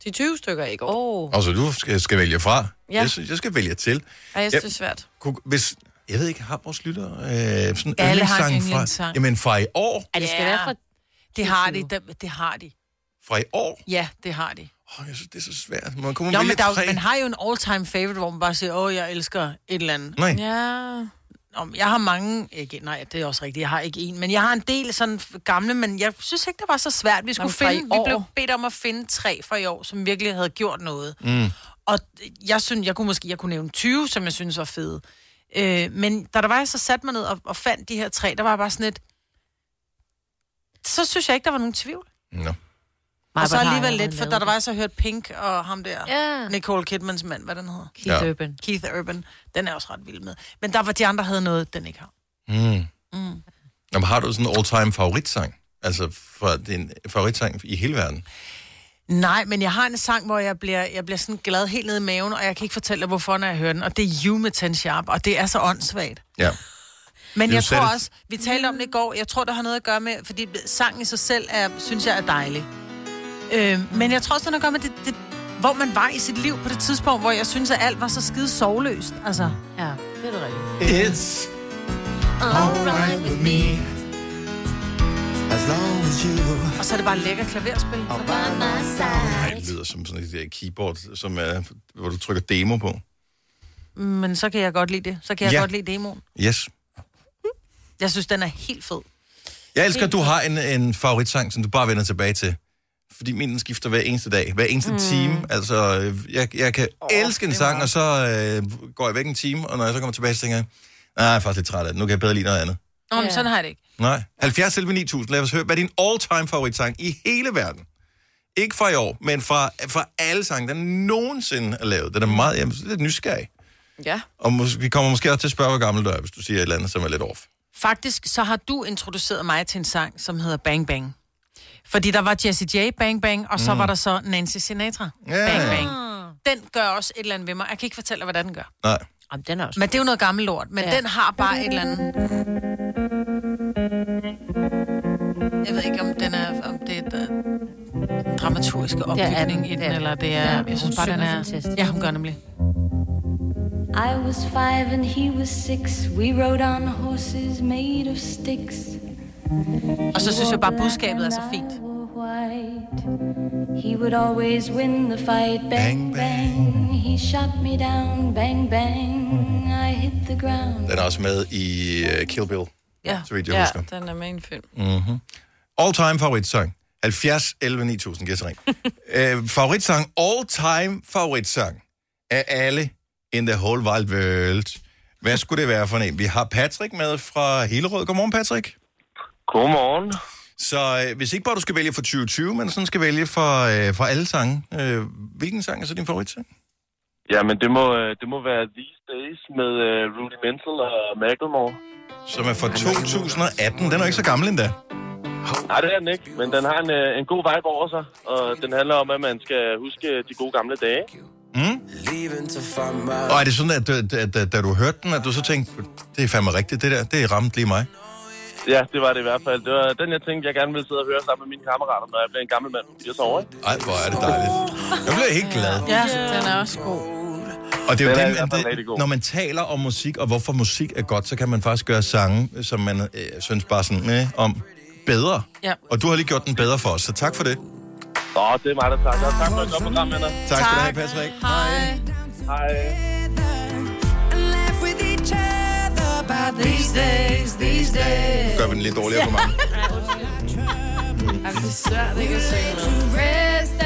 C: De 20 stykker i går.
D: Oh.
A: Og så du skal, skal vælge fra.
C: Ja.
A: Jeg, synes, jeg skal vælge til.
C: Ej, jeg synes, det er svært.
A: Kunne, hvis, jeg ved ikke, har vores lytter øh, sådan
B: Alle har en
A: yndlingssang fra,
B: yndlingssang.
A: jamen fra i år?
D: Ja, det skal være fra...
B: Det har de, det, det har de.
A: Fra i år?
B: Ja, det har de.
A: Oh, jeg synes, det er så svært. Man kunne
B: Jo,
A: vælge
B: men der, er
A: tre.
B: jo- man har jo en all-time favorite, hvor man bare siger, åh, jeg elsker et eller andet.
A: Nej.
C: Ja.
B: Om, jeg har mange, ikke, nej, det er også rigtigt, jeg har ikke en, men jeg har en del sådan gamle, men jeg synes ikke, det var så svært. Vi skulle
C: Nå, men fra i
B: finde, vi
C: år.
B: blev bedt om at finde tre for i år, som virkelig havde gjort noget.
N: Mm.
B: Og jeg synes, jeg kunne måske jeg kunne nævne 20, som jeg synes var fede. Øh, men da der var, jeg så satte mig ned og, og fandt de her tre, der var jeg bare sådan lidt, så synes jeg ikke, der var nogen tvivl.
A: Nå.
B: og så alligevel lidt, for da der var, jeg så hørt Pink og ham der, yeah. Nicole Kidmans mand, hvad den hedder?
A: Keith Ja.
D: Urban.
B: Keith Urban. Den er jeg også ret vild med. Men der var de andre, havde noget, den ikke har.
A: Mm.
B: Mm.
A: Jamen, har du sådan en all-time favoritsang? Altså fra din favoritsang i hele verden?
B: Nej, men jeg har en sang, hvor jeg bliver, jeg bliver sådan glad helt ned i maven, og jeg kan ikke fortælle dig, hvorfor, når jeg hører den. Og det er You med Ten Sharp, og det er så åndssvagt.
A: Ja.
B: Men
A: You
B: jeg
A: said
B: tror
A: it.
B: også, vi talte om det i går, jeg tror, det har noget at gøre med, fordi sangen i sig selv, er, synes jeg, er dejlig. Øh, men jeg tror også, det har noget at gøre med, det, det, hvor man var i sit liv på det tidspunkt, hvor jeg synes, at alt var så skide sovløst. Altså.
D: Ja, det er det
B: rigtigt.
O: It's alright with me. As long as you
B: Og så er det bare lækker klaverspil.
A: Ej, det lyder som sådan et øh, keyboard, som er, hvor du trykker demo på.
B: Men så kan jeg godt lide det. Så kan jeg
A: Ja.
B: ja. godt lide demoen.
A: Yes.
B: Jeg synes, den er helt fed.
A: Jeg elsker, at du har en, en favoritsang, som du bare vender tilbage til. Fordi min den skifter hver eneste dag, hver eneste
B: Mm.
A: mm. time. Altså, øh, jeg, jeg kan oh, elske en sang, og så øh, går jeg væk en time, og når jeg så kommer tilbage, så tænker jeg, nej, jeg er faktisk lidt træt af den. Nu kan jeg bedre lide noget andet.
B: Nå, men sådan har jeg det ikke.
A: Nej. 70 selv 9000. Lad os høre, hvad er din all-time favoritsang i hele verden? Ikke fra i år, men fra, fra alle sange, der nogensinde er lavet. Den er meget, jeg er lidt nysgerrig.
C: Ja.
A: Og mås- vi kommer måske også til at spørge, hvor gammel du er, hvis du siger et eller andet, som er lidt off.
B: Faktisk, så har du introduceret mig til en sang, som hedder Bang Bang. Fordi der var Jesse J, Bang Bang, og så
A: Mm.
B: mm. var der så Nancy Sinatra,
A: Ja.
B: Bang Bang. Den gør også et eller andet ved mig. Jeg kan ikke fortælle dig, hvordan den gør.
A: Nej.
D: Jamen, den er også...
B: Men det er jo noget gammelt lort, men ja. den har bare et eller andet. Jeg ved ikke, om, den er, om det er den dramaturgiske opbygning i den, eller det er...
N: Ja,
B: jeg synes
N: hun
B: bare, den
N: synger
B: er...
N: fantastisk.
B: Ja, hun gør nemlig.
N: I was five and he was six. We rode on horses made of sticks.
B: Og så synes jeg bare, budskabet er så fint.
N: He would always win the fight. Bang, bang. He shot me down. Bang, bang. I hit the ground.
A: Den er også med i uh, Kill Bill,
C: Ja.
A: så vidt jeg
C: ja,
A: husker.
C: den er med i en film.
A: Mm-hmm. All time favoritsang. 70, 11, 9000, gæt så ring. øh, favoritsang, all time favoritsang af alle in the whole wild world. Hvad skulle det være for en? Vi har Patrick med fra Hillerød. Godmorgen, Patrick. Godmorgen. Så øh, hvis ikke bare du skal vælge for 2020, men sådan skal vælge for, øh, for alle sange, øh, hvilken sang er så din favoritsang?
G: Jamen, det må, øh, det må være These Days med øh, Rudy Mental og Macklemore.
A: Som er fra 2018. Den er jo ikke så gammel endda.
G: Nej, det er den ikke, men den har en, øh, en god vibe over sig, og den handler om, at man skal huske øh, de gode gamle dage.
A: Mm? Og er det sådan, at, at, at, at da du hørte den, at du så tænkte, det er fandme rigtigt, det der, det ramte lige mig?
G: Ja, det var det i hvert fald. Det var den, jeg tænkte, jeg gerne ville sidde og høre sammen med mine kammerater, når jeg bliver en gammel mand på 80 år, ikke?
A: Ej, hvor er det dejligt. Jeg bliver helt glad.
B: Ja, den er også god.
A: Og det er jo
G: Den er i
A: det,
G: hvert
A: man,
G: fald rigtig
A: det,
G: god.
A: når man taler om musik, og hvorfor musik er godt, så kan man faktisk gøre sange, som man øh, synes bare sådan, øh, om bedre.
B: Ja.
A: Og du har lige gjort den bedre for os, så tak for det.
G: Nå, det er mig, der takker. Tak for et godt program, Anna.
A: Tak skal du have, Patrick.
B: Hej.
G: Hej.
P: These days, these days.
A: Gør vi den lidt dårligere for mig?
P: Jamen, det er svært ikke at synge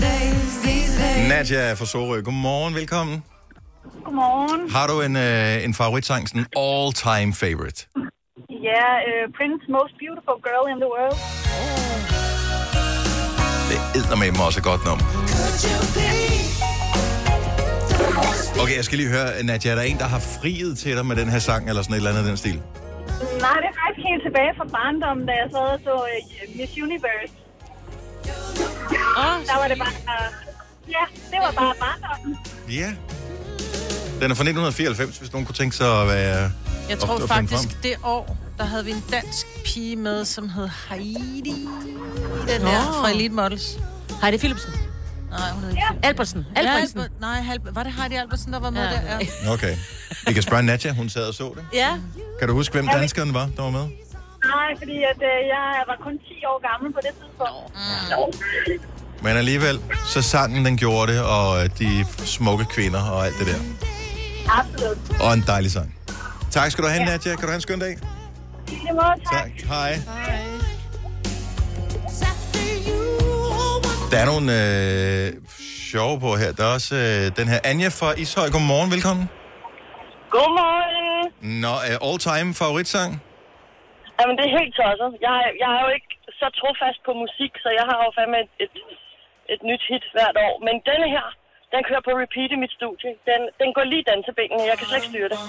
P: noget.
A: Nadja fra Sorø, godmorgen, velkommen.
Q: Godmorgen.
A: Har du en, øh, en favoritsang, sådan all-time favorite?
Q: Ja,
H: øh,
Q: uh, Prince, most beautiful girl in the world.
A: Det er med mig også et godt nummer. Okay, jeg skal lige høre, Nadia, er der en, der har friet til dig med den her sang, eller sådan et eller andet i den stil?
Q: Nej, det er faktisk helt tilbage fra barndommen, da jeg sad og så uh, Miss Universe. Oh, der var det bare... Uh, ja, det var bare barndommen.
A: Ja. Den er fra 1994, hvis nogen kunne tænke sig at være...
B: Jeg
A: at-
B: tror
A: at finde frem.
B: faktisk, det år, der havde vi en dansk pige med, som hed Heidi. Den der
D: Nå.
B: fra Elite Models. Heidi Philipsen. Nej, hun hed ja. Albertsen.
D: Albertsen.
B: Ja, Albert, nej, Halb- var det Heidi Albertsen, der var med ja. der? Ja.
A: Okay. Vi kan spørge Nadia, hun sad og så det.
B: ja.
A: Kan du huske, hvem danskeren var, der var med?
Q: Nej, fordi at, uh, jeg var kun 10 år gammel på det tidspunkt. Mm.
A: Men alligevel, så sangen den gjorde det, og øh, de smukke kvinder og alt det der.
Q: Absolut.
A: Og en dejlig sang. Tak skal du have, Nadia. Kan du have en skøn dag?
Q: I lige måde, tak.
A: Hej. Der er nogle øh, sjove på her. Der er også øh, den her Anja fra Ishøj. Godmorgen, velkommen.
I: Godmorgen.
A: Nå, øh, all-time favoritsang?
I: Jamen, det er helt tosset. Jeg, jeg er jo ikke så trofast på musik, så jeg har jo fandme et, et, et nyt hit hvert år. Men denne her, den kører på repeat i mit studie. Den, den går lige den til benene. Jeg kan slet ikke styre det.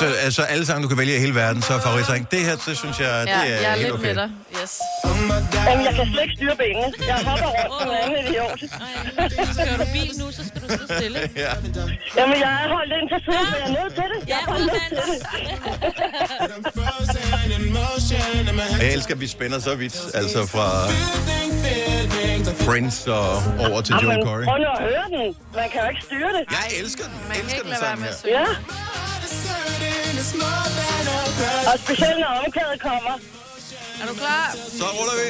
A: Så altså, alle sange, du kan vælge i hele verden, så er favoritsang. Det her, det synes jeg, ja, det er,
C: jeg er
A: helt
C: lidt
A: okay.
C: med dig. Yes.
I: Jamen, jeg kan slet ikke styre benene. Jeg hopper rundt som en anden idiot.
D: Kører du bil nu, så skal du sidde stille.
A: ja.
I: Jamen, jeg er holdt ind til siden, men jeg er nødt til det. Jeg er bare nødt til det.
A: Jeg elsker, at vi spænder så vidt, altså fra Prince og over til Joe
I: Jamen,
A: Corey.
I: prøv nu at høre den. Man kan jo ikke styre det.
A: Jeg elsker den. Man elsker den sang her.
I: Ja. Og specielt når omkvædet kommer.
C: Er du klar?
A: Så ruller vi.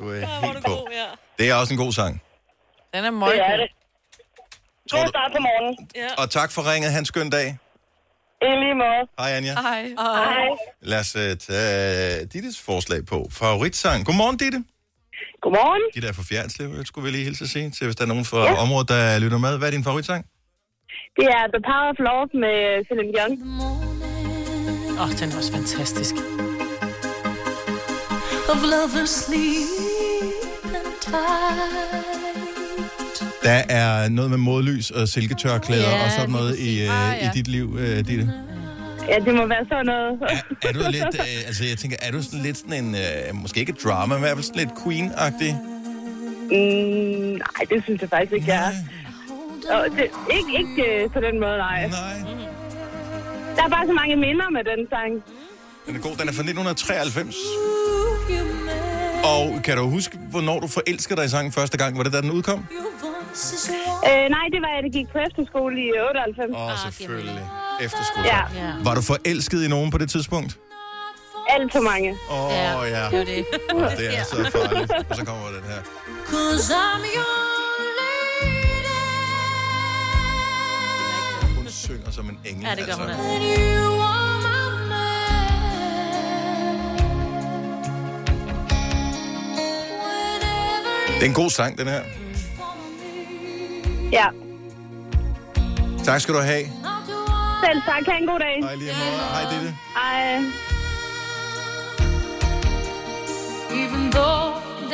A: Du er helt på. Det er også en god sang.
C: Den er møg.
I: Det er det. God start på morgenen.
C: Ja.
A: Og tak for ringet. Han skøn dag.
I: I lige måde.
A: Hej, Anja.
C: Hej.
I: Hej.
A: Lad os øh, tage Dittes forslag på. Favoritsang. Godmorgen, Ditte.
I: Godmorgen.
A: Ditte er fra Fjernslev, skulle vi lige hilse at sige, til hvis der er nogen fra ja. området, der lytter med. Hvad er din favoritsang?
Q: Det er The Power of Love med
I: øh,
Q: Celine Dion.
B: Åh, oh, den er også fantastisk.
P: Of love and sleep and time.
A: Der er noget med modlys og silketørklæder
Q: Ja,
A: og sådan noget i, øh,
Q: Ah, ja.
A: i dit liv, øh, Ditte.
Q: Ja, det må være sådan noget.
A: Er du lidt, øh, altså jeg tænker, er du sådan lidt sådan en, øh, måske ikke drama, men i hvert fald sådan lidt queen-agtig?
H: Mm, nej, det synes jeg faktisk ikke, jeg er. Og det, ikke, ikke øh, på den måde, nej.
A: nej.
H: Der er bare så mange minder med den sang.
A: Den er god. Den er fra 1993. Og kan du huske, hvornår du forelskede dig i sangen første gang? Var det da den udkom?
H: Øh, nej, det var jeg, der gik på efterskole i 98.
A: Åh, oh, selvfølgelig. Efterskole.
H: Ja,
A: Var du forelsket i nogen på det tidspunkt?
H: alt for mange.
A: Åh, oh, ja.
H: det var det.
A: Oh, det er så farligt. Og så kommer den her.
P: Cause I'm your
A: Hun synger som en engel.
P: Ja, det gør hun
A: altså.
P: altså.
A: Det er en god sang, den her.
H: Ja,
A: Tak skal du have.
H: selv tak. Ha' en god dag.
A: Hej lige måde. Hej, Ditte.
H: Hej.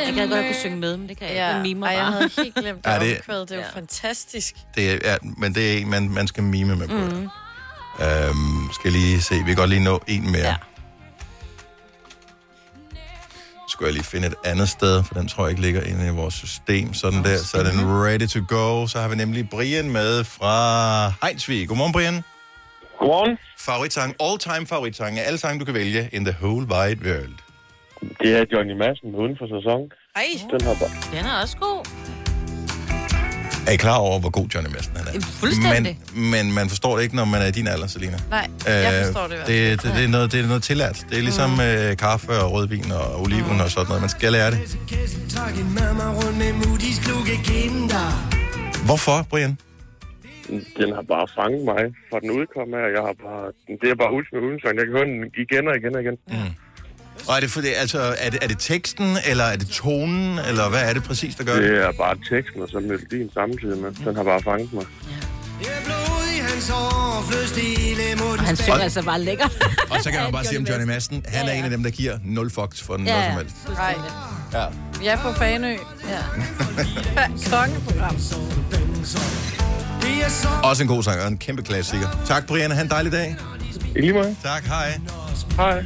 D: Jeg gad godt at kunne synge med, men det kan jeg
C: Ja.
D: ikke. Den mimer
C: Ej,
D: bare.
C: jeg havde helt glemt
A: Ja,
C: ja,
A: det-
C: det. omkvædet. Det er jo fantastisk.
A: Det er, ja, men det er en, man, man skal mime med på. Mm.
C: Mm.
A: Øhm, skal jeg lige se. Vi kan godt lige nå en mere. Ja. Skulle jeg lige finde et andet sted, for den tror jeg ikke ligger inde i vores system. Sådan der, så er den ready to go. Så har vi nemlig Brian med fra Heinsvig. Godmorgen, Brian.
G: Godmorgen.
A: Favoritsang, all time favoritsang, alle sange, du kan vælge in the whole wide world.
G: Det er Johnny Madsen uden for sæson.
D: Ej,
G: Den har bare...
D: den er også god.
A: Er I klar over, hvor god Johnny Madsen han er?
D: Fuldstændig.
A: Men, men man forstår det ikke, når man er i din alder, Selina.
C: Nej,
A: Øh, det, det, det, er noget, det er noget tillært. Det er ligesom mm. øh, kaffe og rødvin og oliven mm. og sådan noget. Man skal lære det.
O: Kassen trak en mamma rundt med Moody's kluge kinder.
A: Hvorfor, Brian?
G: Den har bare fanget mig fra den udkom her. Jeg har bare... Det er bare ultimate udensang. Jeg kan høre den igen og igen og igen. Mm.
A: Og er det, for det, altså, er, det, er det teksten, eller er det tonen, eller hvad er det præcis, der gør
G: Det er bare teksten og så melodien samtidig med. Den har bare fanget mig.
O: Blod i hans hår, fløst ilde mod den
D: Han synger
A: Og-
D: altså bare lækkert.
A: Og så kan man bare sige om Johnny Madsen, han er en af dem, der giver nul fucks for noget som helst.
C: Nej,
A: Ja.
C: jeg er på Fanø. Ja. Kongeprogram.
A: Også en god sang, og en kæmpe klassiker. Tak, Brian. Ha' en dejlig dag.
G: I lige måde.
A: Tak, hej.
G: Hej.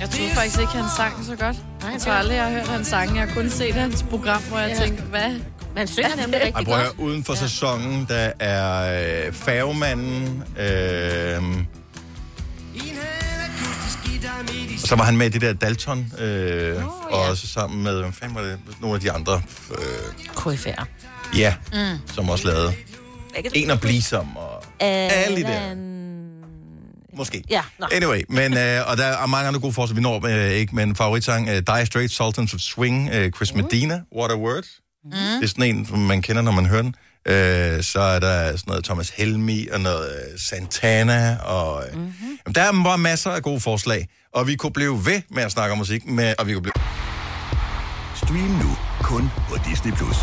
C: Jeg troede faktisk ikke, han sang så godt. Jeg tror aldrig, jeg har hørt hans sange. Jeg har kun set hans program, hvor jeg tænkte, hvad?
D: Man synger nemlig
A: Ej,
D: rigtig
A: prøv at
D: godt.
A: høre, uden for ja. sæsonen, der er øh, færgemanden, øh, så var han med i det der Dalton, øh, oh, ja. og også sammen med, hvad fanden var det, nogle af de andre, øh,
D: KFR.
A: ja,
D: Mm.
A: som også lavede En at blive som, og alle de der. Måske.
D: Ja, nå.
A: Anyway, men, øh, og der er mange andre gode forslag, vi når øh, ikke, men favoritsang, øh, Dire Straits, Sultans of Swing, øh, Chris Medina, What a Word. Mm. Det er sådan en, som man kender, når man hører den. Øh, så er der sådan noget Thomas Helmi og noget øh, Santana. Og, øh, mm-hmm. jamen, der er bare masser af gode forslag, og vi kunne blive ved med at snakke om musik, med, og vi kunne blive...
R: Stream nu kun på Disney+. Plus.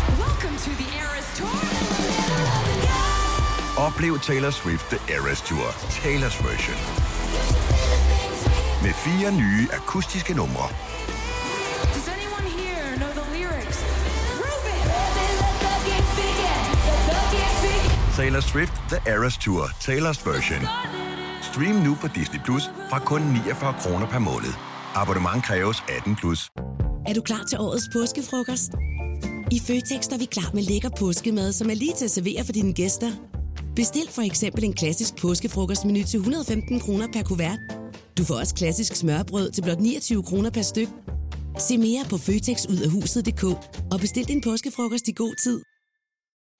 R: Oplev Taylor Swift The Eras Tour, Taylor's version. Med fire nye akustiske numre. Taylor Swift The Eras Tour, Taylor's version. Stream nu på Disney Plus fra kun 49 kroner per måned. Abonnement kræves 18 plus.
S: Er du klar til årets påskefrokost? I Føtex er vi klar med lækker påskemad, som er lige til at servere for dine gæster. Bestil for eksempel en klassisk påskefrokostmenu til 115 kroner per kuvert. Du får også klassisk smørbrød til blot 29 kroner per styk. Se mere på føtexudafhuset.dk og bestil din påskefrokost i god tid.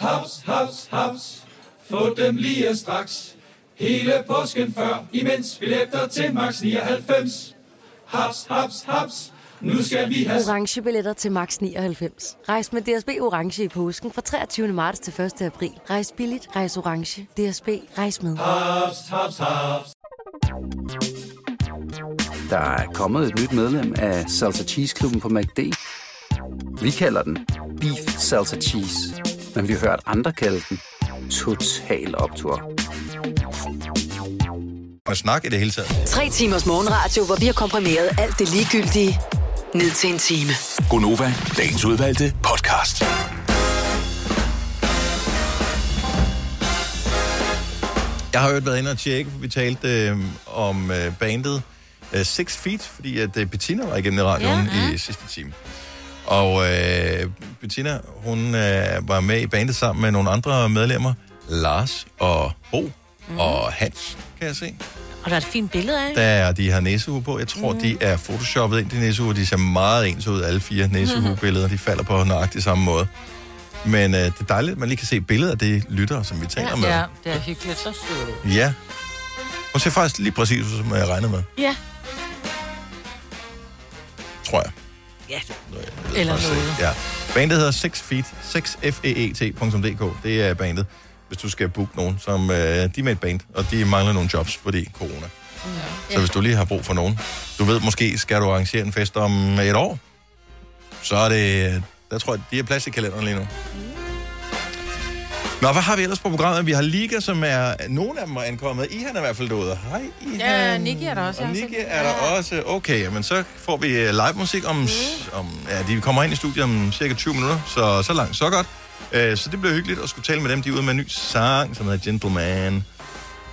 M: Haps, haps, haps. Få dem lige straks. Hele påsken før, imens billetter til max 99. Haps, haps, haps. Nu skal vi have...
T: orange billetter til max 99. Rejs med DSB orange i påsken fra 23. marts til 1. april. Rejs billigt, rejs orange. DSB rejs
M: Ah,
T: med.
M: Haps, haps, haps.
U: Der er kommet et nyt medlem af Salsa Cheese Klubben på MACD. Vi kalder den Beef Salsa Cheese, men vi har hørt andre kalde den Total Optor.
A: Man snakke i det hele taget.
E: Tre timers morgenradio, hvor vi har komprimeret alt det ligegyldige ned til en time.
R: Gonova, dagens udvalgte podcast.
A: Jeg har jo været inde og tjekke, vi talte øh, om øh, bandet øh, Six Feet, fordi at øh, Bettina var igennem i radioen ja, ja. i sidste time. Og øh, Bettina, hun øh, var med i bandet sammen med nogle andre medlemmer. Lars og Bo
B: Mhm.
A: mm. og Hans, kan jeg se.
D: Og der er et fint billede af.
A: Der er, de har næsehue på. Jeg tror, mm.
B: Mhm.
A: de er photoshoppet ind, de næsehue. De ser meget ens ud, alle fire næsehue-billeder. De falder på nøjagtig samme måde. Men øh, det er dejligt, at man lige kan se billeder af de lyttere, som vi taler med.
B: Ja, det er hyggeligt. Så sødt.
A: Ja. Hun ser faktisk lige præcis ud, som jeg regnede med,
D: Ja.
A: tror jeg.
D: Ja.
B: Eller
A: Præcis,
B: noget.
A: Ja. Bandet hedder Six E Feet, 6feet.dk. Det er bandet, hvis du skal booke nogen, som øh, de er med et band, og de mangler nogle jobs, fordi corona. Ja. Så hvis du lige har brug for nogen, du ved måske, skal du arrangere en fest om et år, så er det, der tror jeg, de har plads i kalenderen lige nu. Nå, hvad har vi ellers på programmet? Vi har Liga, som er... Nogle af dem er ankommet. I han er i hvert fald derude. Hej, I
B: Ja, Nicky er der også.
A: og
B: jeg har set
A: Nikke er der også. Okay, men så får vi øh, live musik om, s-
B: Mm.
A: om... Ja, de kommer ind i studiet om cirka 20 minutter, så så langt, så godt. Øh, Så det bliver hyggeligt at skulle tale med dem. De er ude med en ny sang, som hedder Gentleman.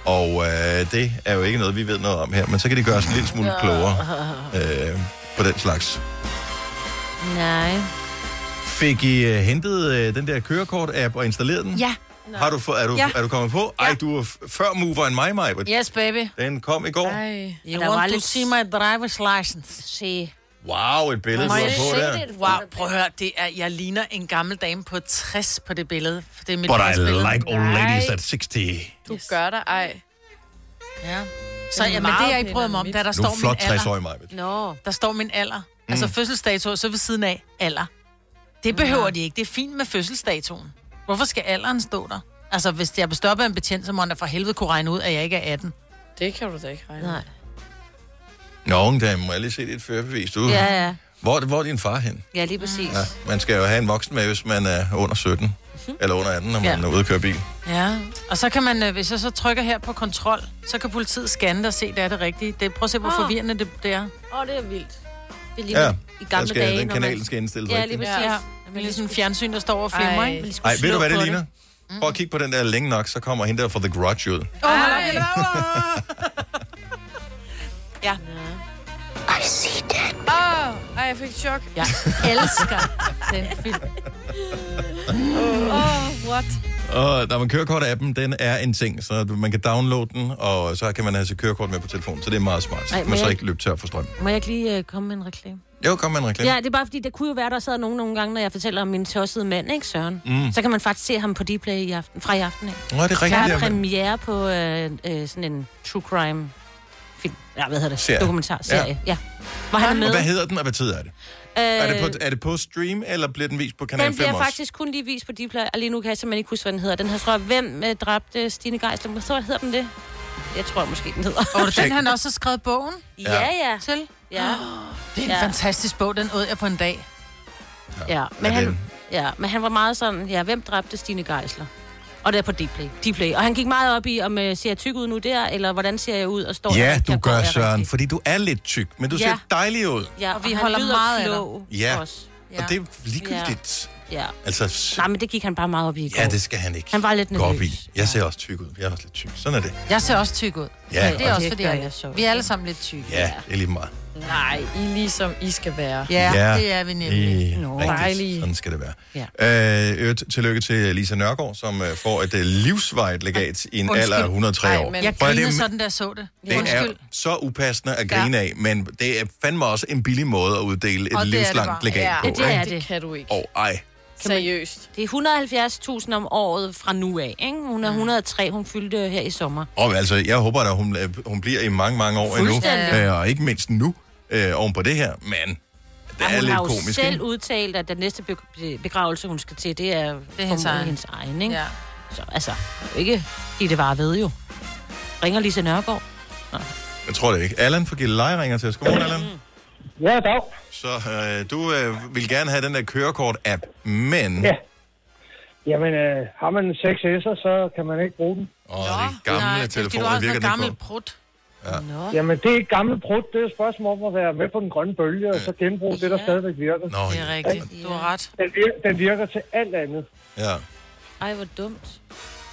A: Og øh, det er jo ikke noget, vi ved noget om her, men så kan de gøre os en lille smule klogere øh, på den slags.
D: Nej.
A: Fik I øh, hentet øh, den der kørekort-app og installeret den?
D: Ja.
A: Har du, få, er, du,
D: Ja.
A: ja. er du kommet på? Ej, du er f- før mover end mig, Maja.
B: Yes, baby.
A: Den kom i går.
B: Ej. You
D: Og der
B: want
D: var
B: to
D: lidt-
B: see my driver's license?
D: Se.
A: Wow, et billede, du
B: Må
A: har
B: jeg
A: på
B: se
A: der.
B: det? Wow, prøv at høre, det er, jeg ligner en gammel dame på 60 på det billede. For det er mit
A: But I
B: billede.
A: like old ladies
B: Nej.
A: at 60.
C: Du yes. gør dig ej.
B: Ja. Så ja, men det har jeg ikke prøvet mig om, da der
A: Nu er
B: står
A: hun
B: min
A: flot
B: alder.
A: 60 år i mig.
B: Nå. Der står min alder.
A: Mm.
B: Mm. Altså fødselsdato, og så ved siden af alder. Det behøver de ikke. Det er fint med fødselsdatoen. Hvorfor skal alderen stå der? Altså, hvis jeg bestopper en betjent, så må han da for helvede kunne regne ud, at jeg ikke er 18.
C: Det kan du da ikke regne
B: Nej.
A: Nå, unge dame, må jeg lige se dit førerbevis? Du,
D: Ja, ja.
A: Hvor, hvor er din far hen?
D: Ja, lige præcis.
A: Ja, man skal jo have en voksen med, hvis man er under 17.
D: Mhm.
A: Eller under 18, når man
B: Ja.
A: er ude at køre bil.
B: Ja, og så kan man, øh, hvis jeg så trykker her på kontrol, så kan politiet scanne det og se, det er det rigtige. Det, prøv at se, hvor
D: Åh.
B: forvirrende det, det er.
D: Åh, oh, det er vildt. Det er lige
A: Ja,
D: ja. i gamle
A: der skal-
D: dage,
A: den
D: når
A: kanal
D: man...
A: skal indstilles
D: Ja, lige
A: rigtigt.
D: præcis.
B: Ja.
D: Ja.
B: Det er ligesom fjernsyn, der står og filmer,
D: Ej.
B: ikke?
A: Ej, ved du, hvad det ligner?
D: Mm.
A: Prøv at kigge på den der længe nok, så kommer hende der fra The Grudge ud.
B: Åh, hold op, jeg
C: Ja. I see that. Åh, oh, ej, jeg fik chok.
B: Jeg elsker den film.
C: Åh, oh, what?
A: Og når man kørekort-appen, den er en ting, så du- man kan downloade den, og så kan man have sit kørekort med på telefonen, så det er meget smart.
D: Ej,
A: Ej,
D: må
A: man så
D: jeg-
A: ikke løbe tør for strøm.
D: Må jeg ikke lige øh, komme med en reklame?
A: Jo, kom med en reklame.
D: Ja, det er bare fordi, der kunne jo være, der sad nogen nogle gange, når jeg fortæller om min tossede mand, ikke Søren?
A: Mm.
D: Mm. Så kan man faktisk se ham på Dplay i aften, fra i aften af.
A: Nå, det er rigtigt,
D: Der
A: ja,
D: er
A: men-
D: premiere på øh, øh, sådan en true crime film. Ja, hvad hedder det?
A: Serie.
D: Dokumentarserie.
A: Ja.
D: Ja. Var han er
A: Og
D: med?
A: hvad hedder den, og hvad tid er det?
D: Øh,
A: Er det, på, er det på stream, eller bliver den vist på Kanal
D: den
A: 5
D: bliver
A: også?
D: faktisk kun lige vist på Dplay, og lige nu kan jeg simpelthen ikke huske, hvad den hedder. Den her, tror jeg, hvem øh, dræbte Stine Geisler? Hvad tror jeg, hedder den det? Jeg tror måske, den hedder.
B: Og den han også har skrevet bogen?
D: Ja, ja.
B: Til?
D: Ja.
B: Det er en
D: Ja.
B: fantastisk bog, den åd jeg på en dag.
D: Ja,
B: Ja,
D: men, han,
B: den-
D: ja, men han var meget sådan, ja, hvem dræbte Stine Geisler? Og det er på Dplay. Dplay. Og han gik meget op i, om øh, ser jeg tyk ud nu der, eller hvordan ser jeg ud og står jeg
A: Ja,
D: rigtigt,
A: du
D: og går
A: gør,
D: jeg
A: Søren, fordi du er lidt tyk, men du ser
D: Ja.
A: dejlig ud.
D: rigtigt? Ja, og,
B: vi
D: vi og
B: holder
D: holder han lyder
B: meget
D: meget
B: af dig.
D: klog.
A: Ja,
D: Også.
A: og det er ligegyldigt.
D: Ja.
A: Altså, s-
D: Nej, men det gik han bare meget op i i går.
A: ja, det skal han ikke
D: Han var lidt
A: gå op
D: nervøs.
A: i. Jeg ser også tyk ud. Jeg er også lidt tyk. Sådan er det.
B: Jeg ser også tyk ud.
A: Ja.
B: det er også
A: Det
B: fordi,
A: gør
B: jeg,
A: jeg
B: er vi er alle sammen lidt tykke.
A: Ja, det er lige meget.
C: Nej, I er ligesom I skal være.
B: Ja, det er vi nemlig.
A: Det er
B: Nå.
A: rigtigt.
C: Dejlige.
A: Sådan skal det være. Ja. Øh, øvrigt, tillykke til Lisa Nørgaard, som øh, får et øh, livsvejt legat i en
B: Undskyld.
A: alder af 103
B: Ej,
A: år.
B: men Jeg
A: Prøv at- det er-
B: grinede sådan, da jeg så det.
A: Det er
B: Undskyld.
A: så upassende at grine
B: Ja.
A: ja. af, men det er fandme også en billig måde at uddele et livslangt legat
D: ja.
A: på.
D: Ja, det er
A: ikke?
D: det. kan du ikke.
A: Og ej,
D: Seriøst. Det er 170.000 om året fra nu af, ikke? Hun er 103, hun fyldte her i sommer.
A: Og altså, jeg håber da, hun, hun bliver i mange, mange år endnu.
D: Fuldstændig.
A: Øh, og ikke mindst nu, øh, oven på det her. Men det
D: Ja,
A: er
D: hun
A: lidt
D: har jo
A: komisk,
D: selv
A: ikke?
D: udtalt, at den næste be- begravelse, hun skal til, det er, det er hendes, egen. hendes egen. Ikke? Ja. Så altså, det er jo ikke fordi det var ved jo. Ringer Lise Nørgaard.
A: Jeg tror det ikke. Allan fra Gilleleje ringer til os. Godmorgen, Allan.
V: Ja, dag.
A: Så øh, du øh, vil gerne have den der kørekort-app, men...
V: Ja. Jamen, øh, har man en 6S'er, så kan man ikke bruge den.
A: Åh, de gamle
V: nej, det er fordi, du har
A: telefoner
V: også
A: virker
V: noget
A: den ikke
V: gammelt
A: på.
B: Prut.
A: Ja.
V: Jamen, det er et gammelt brud. Det er et spørgsmål om at være med på den grønne bølge, og så genbruge det, der stadigvæk virker.
A: Nå,
B: Det er rigtigt. Du har ret.
V: Den, vir- den virker til alt andet.
A: Ja.
D: Ej, hvor dumt.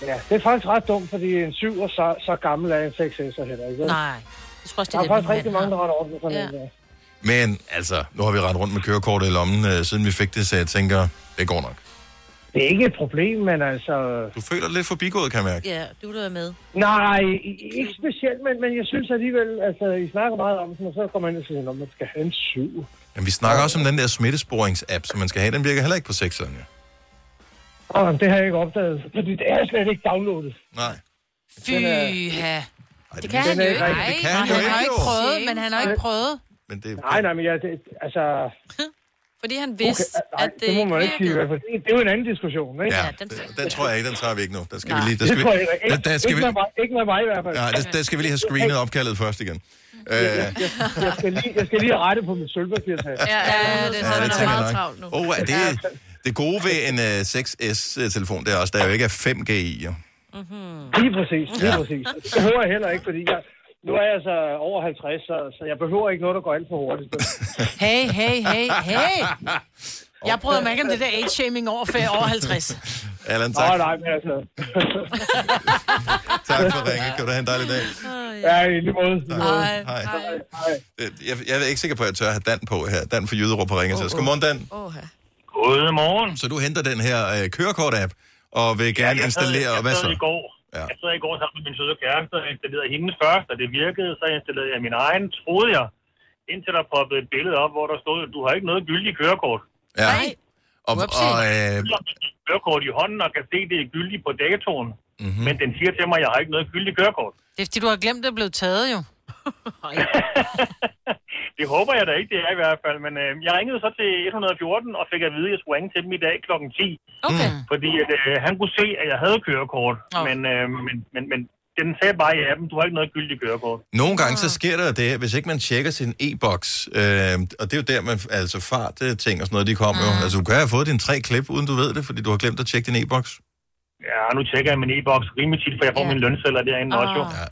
V: Ja, det er faktisk ret dumt, fordi en 7 er så, så gammel er en 6S'er heller ikke. vel?
D: Nej. Jeg tror også, det
V: der
D: er
V: er
D: det,
V: faktisk
D: min
V: rigtig
D: mand
V: mange, der
D: har.
V: retter op på sådan
D: Ja.
V: en. ja.
A: Men altså, nu har vi rendt rundt med kørekortet i lommen, øh, siden vi fik det, så jeg tænker, det går nok.
V: Det er ikke et problem, men altså...
A: Du føler dig lidt forbigået, kan jeg mærke.
D: Ja, du er med.
V: Nej, i- ikke specielt, men, men jeg synes alligevel, altså, I snakker meget om den, og så kommer man ind og siger, at man skal have en syv.
A: Men vi snakker også om den der smittesporings-app, som man skal have. Den virker heller ikke på sekseren, ja.
V: Og det har jeg ikke opdaget, fordi det er slet ikke downloadet.
A: Nej.
B: Fyha. Det kan
V: den
B: han
V: er ikke
B: jo
V: rigtig-
B: ikke. Nej,
V: det kan
B: han
V: han jo
B: har
V: ikke,
B: ikke
V: jo.
B: prøvet, men han har ikke prøvet.
A: Men det...
V: Nej, nej, men jeg, det, altså...
C: Fordi han vidste, okay,
V: nej,
C: at det,
V: det må man ikke
C: ikke
V: sige, i hvert
C: virkede.
V: fald. Det, det er jo en anden diskussion, ikke?
A: Ja, den, den tror jeg ikke, den tager vi ikke nu. Der skal vi
V: Nej.
A: lige, der skal
V: Det
A: vi,
V: tror jeg ikke.
A: der, der skal
V: ikke,
A: vi,
V: med mig, ikke med mig i hvert fald.
A: ja, der, der skal vi lige have screenet opkaldet først igen. Øh,
V: Jeg, jeg, skal lige, jeg skal lige rette på mit sølvpapirtag.
C: Ja, ja, det,
A: Ja,
C: han
A: det tænker
C: er
A: jeg
C: meget
A: nok.
C: travlt nu.
A: Åh, oh, er det, det gode ved en uh, 6S-telefon, det er også, der jo ikke er 5G i. Jo.
V: Mm. Lige præcis, lige
A: Ja.
V: præcis. Det behøver jeg heller ikke, fordi jeg, nu er jeg så over 50, så, så jeg behøver ikke noget, der går alt for hurtigt.
B: Hey, hey, hey, hey. Jeg bryder mig ikke om det der age-shaming over, fem- over 50.
A: Allan,
V: Nå,
A: tak,
V: nej, men altså...
A: tak for ringet. Kan du have en dejlig dag.
V: Ja, i lige måde. i lige måde.
A: Hej. Hej. Øh, Jeg, jeg er ikke sikker på, at jeg tør have Dan på her. Dan fra Jyderup har ringet til os. Godmorgen, Dan.
C: Åh,
A: Godmorgen. Så du henter den her øh, kørekort-app, og vil gerne
W: jeg sad-
A: installere, og hvad
W: Jeg sad i
A: så?
W: går,
A: Ja.
W: jeg sad i går sammen med min søde kæreste, og installerede hendes først, og det virkede, så installerede jeg min egen, troede jeg, indtil der poppede et billede op, hvor der stod, du har ikke noget gyldigt kørekort.
A: Ja. Og,
W: Whoopsie.
A: og, øh,
W: Jeg har et kørekort i hånden og kan se, det er gyldigt på datoen,
A: Mhm.
W: mm-hmm. men den siger til mig, at jeg har ikke noget gyldigt kørekort.
B: Det er fordi, du har glemt, at det er blevet taget jo.
W: Det håber jeg da ikke, det er i hvert fald, men øh, jeg ringede så til 114 og fik at vide, at jeg skulle ringe til dem i dag kl. 10.
B: Okay.
A: Mm.
W: Fordi at, øh, han kunne se, at jeg havde kørekort,
B: Nå.
W: oh. men, øh, men, men, men den sagde bare i appen, du har ikke noget gyldigt kørekort.
A: Nogle gange så sker der det, hvis ikke man tjekker sin e-boks, øh, og det er jo der, man, altså fart øh, ting og sådan noget, de kommer jo. Altså, du kan have fået dine tre klip, uden du ved det, fordi du har glemt at tjekke din e-boks.
W: Ja, nu tjekker jeg min e-boks rimelig tit, for jeg får
D: Ja.
W: ja. min lønceller derinde
D: Ah.
W: også jo.
D: Ja.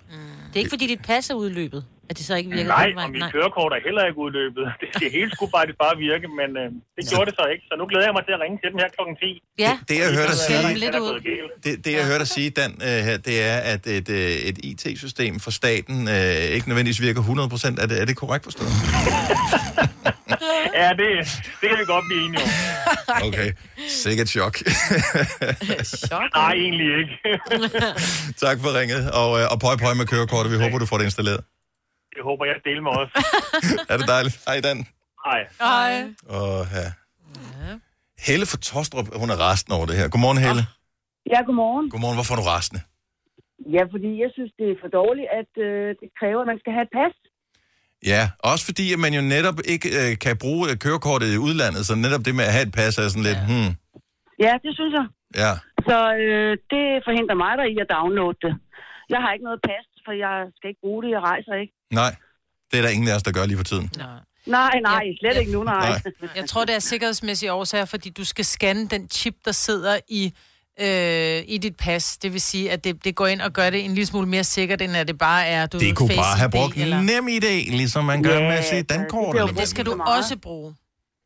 D: Det er ikke, fordi dit pas er udløbet, at det så ikke virker.
W: Nej,
D: den vej.
W: og mit kørekort er heller ikke udløbet. Det, det hele skulle faktisk bare virke, men øh, det gjorde det så ikke. Så nu glæder jeg mig til at ringe til dem her kl. 10.
D: Ja.
A: Det, jeg hører dig sige,
W: Den er gået galt.
A: det, det, jeg hører dig sige Dan, øh, her, det er, at et, øh, et IT-system for staten øh, ikke nødvendigvis virker 100%. Er det, er det korrekt forstået?
W: Ja, det, det kan vi godt blive enige om.
A: Okay, sikkert chok.
W: Nej, egentlig ikke.
A: tak for ringet, og, øh, og pøj pøj med kørekortet. Vi håber, du får det installeret.
W: Det håber jeg deler med os.
A: Er det dejligt? Hej, Dan.
W: Hej.
B: Hej.
A: Og, ja. Helle fra Tostrup, hun er resten over det her. Godmorgen, Helle.
B: Ah.
K: Ja, godmorgen.
A: Godmorgen, hvorfor er du rasende?
K: Ja, fordi jeg synes, det er for dårligt, at øh, det kræver, at man skal have et pas.
A: Ja, også fordi, at man jo netop ikke øh, kan bruge øh, kørekortet i udlandet, så netop det med at have et pas er sådan lidt, hmm,
K: Ja, det synes jeg.
A: ja.
K: Så øh, det forhindrer mig der i at downloade det. Jeg har ikke noget pas, for jeg skal ikke bruge det, jeg rejser ikke.
A: Nej, det er der ingen af os, der gør lige for tiden.
K: Nej, nej, slet ikke nu, nej.
A: Nej.
B: Jeg tror, det er sikkerhedsmæssige årsager, fordi du skal scanne den chip, der sidder i, øh, i dit pas. Det vil sige, at det, det går ind og gør det en lille smule mere sikkert, end at det bare er, du ved,
A: Det kunne
B: Face
A: bare have
B: ID
A: brugt
B: eller...
A: nem idé, ligesom man gør med sit dankort. eller hvad
B: Det skal
A: ved
B: du
A: jeg.
B: også bruge.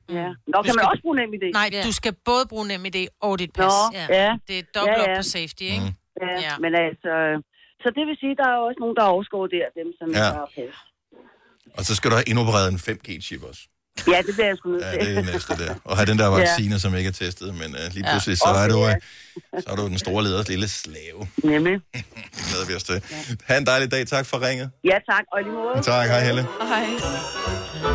B: Mm.
K: Ja. Nå, kan man også bruge NemID?
B: Nej,
K: Ja.
B: du skal både bruge NemID og dit pas.
K: Nå, ja.
B: Det er dobbelt
K: Ja,
B: op
K: ja.
B: på safety, ikke?
K: Ja, ja. Men altså, øh, så det vil sige, der er jo også nogen, der er overskåret der, dem som
A: Ja.
K: ja. har pas.
A: Og så skal du have indopereret en 5G-chip også.
K: Ja, det bliver jeg sgu nødt
A: Ja,
K: til.
A: det er det næste der. Og have den der
K: Ja.
A: vaccine, som ikke er testet, men uh, lige
K: Ja.
A: pludselig, så, er
K: Okay,
A: du,
K: ja.
A: øh, så er du den store leders lille slave.
K: Nemlig.
A: Det glæder vi os til. Ha' en dejlig dag. Tak for ringet.
K: Ja, tak. Og i lige måde.
A: Tak, hej Helle.
K: Hej.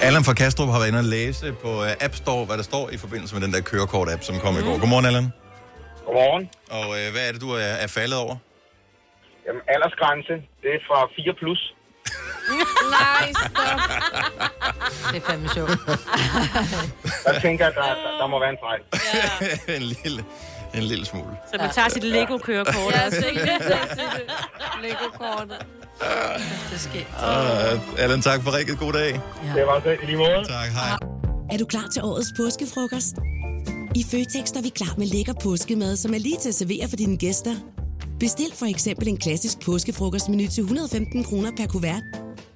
A: Allan fra Kastrup har været inde og læse på øh, App Store, hvad der står i forbindelse med den der kørekort-app, som kom i
K: Mhm.
A: går. Godmorgen, Allan.
J: Godmorgen.
A: Og øh, hvad er det, du er, er faldet over?
J: Jamen, aldersgrænse, det er fra 4 plus.
B: Nej, stop. Det er fandme sjovt.
J: Der tænker jeg, der, der, der må være en fejl.
A: en, lille, en lille smule.
D: Så man tager sit Lego-kørekort.
A: Ja, sikkert.
D: Lego-kortet.
B: Det sker.
A: Uh, Allan, tak for rigtig god dag.
J: Ja. Det var det i lige måde.
A: Tak, hej.
S: Er du klar til årets påskefrokost? I Føtex er vi klar med lækker påskemad, som er lige til at servere for dine gæster. Bestil for eksempel en klassisk påskefrokostmenu til 115 kroner per kuvert.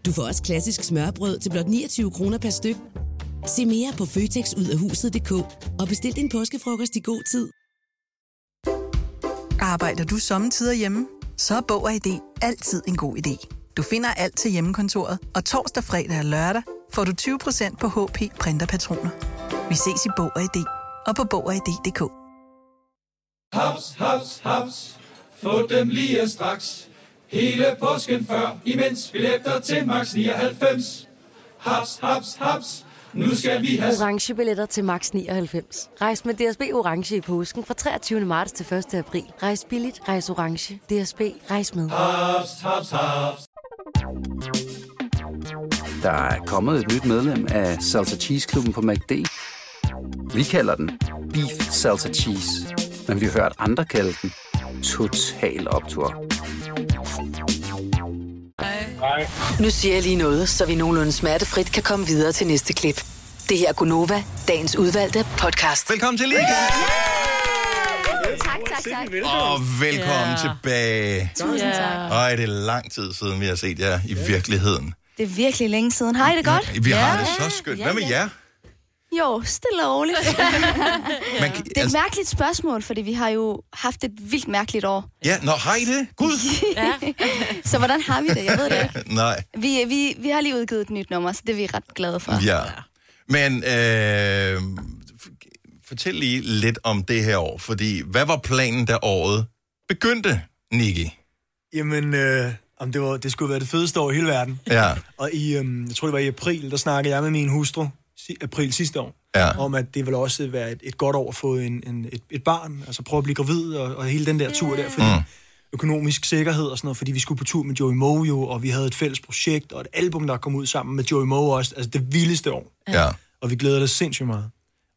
S: Du får også klassisk smørbrød til blot 29 kroner per styk. Se mere på føtexudafhuset.dk og bestil din påskefrokost i god tid.
X: Arbejder du sommetider hjemme? Så er Bog og ID altid en god idé.
F: Du finder alt til hjemmekontoret, og torsdag, fredag og lørdag får du 20% på HP printerpatroner. Vi ses i Bog og ID og på Bog og ID.dk.
M: Haps, haps, haps. Få dem lige straks. Hele påsken før, imens billetter til max 99. Haps, haps, haps. Nu skal vi have...
T: orange billetter til max 99. Rejs med DSB orange i påsken fra 23. marts til 1. april. Rejs billigt, rejs orange. DSB rejs med.
M: Haps, haps, haps.
U: Der er kommet et nyt medlem af Salsa Cheese Klubben på MACD. Vi kalder den Beef Salsa Cheese, men vi har hørt andre kalde den Total Optor.
E: Nu siger jeg lige noget, så vi nogenlunde smertefrit kan komme videre til næste klip. Det her er Gunova, dagens udvalgte podcast.
A: Velkommen til Liga!
D: Tak, tak, tak.
A: Og velkommen yeah. tilbage.
D: Tusind tak.
A: Ej, det er lang tid siden, vi har set jer i virkeligheden.
Y: Det er virkelig længe siden. Har I det godt?
A: Vi har det så skønt. Hvad med jer?
Y: Jo, stille og roligt.
A: Man, kan- altså-
Y: det er et mærkeligt spørgsmål, fordi vi har jo haft et vildt mærkeligt år.
A: Ja, nå, har I det? Gud!
Y: så hvordan har vi det? Jeg ved det ikke.
A: Nej,
Y: Vi, vi, vi har lige udgivet et nyt nummer, så det er vi ret glade for.
A: ja. Men øh, f- fortæl lige lidt om det her år, fordi hvad var planen, da året begyndte, Niki?
N: Jamen, øh, om det, var, det skulle være det fedeste år i hele verden.
A: Ja.
N: Og i, øhm, jeg tror, det var i april, der snakkede jeg med min hustru, si- april sidste år,
A: Ja.
N: om at det ville også være et, et godt år at få en, en, et, et barn, altså prøve at blive gravid og, og hele den der tur der, fordi
A: Mm.
N: mm. økonomisk sikkerhed og sådan noget, fordi vi skulle på tur med Joey Mojo, og vi havde et fælles projekt, og et album, der kom ud sammen med Joey Mojo også, altså det vildeste år.
A: Ja.
N: Og vi glæder os sindssygt meget.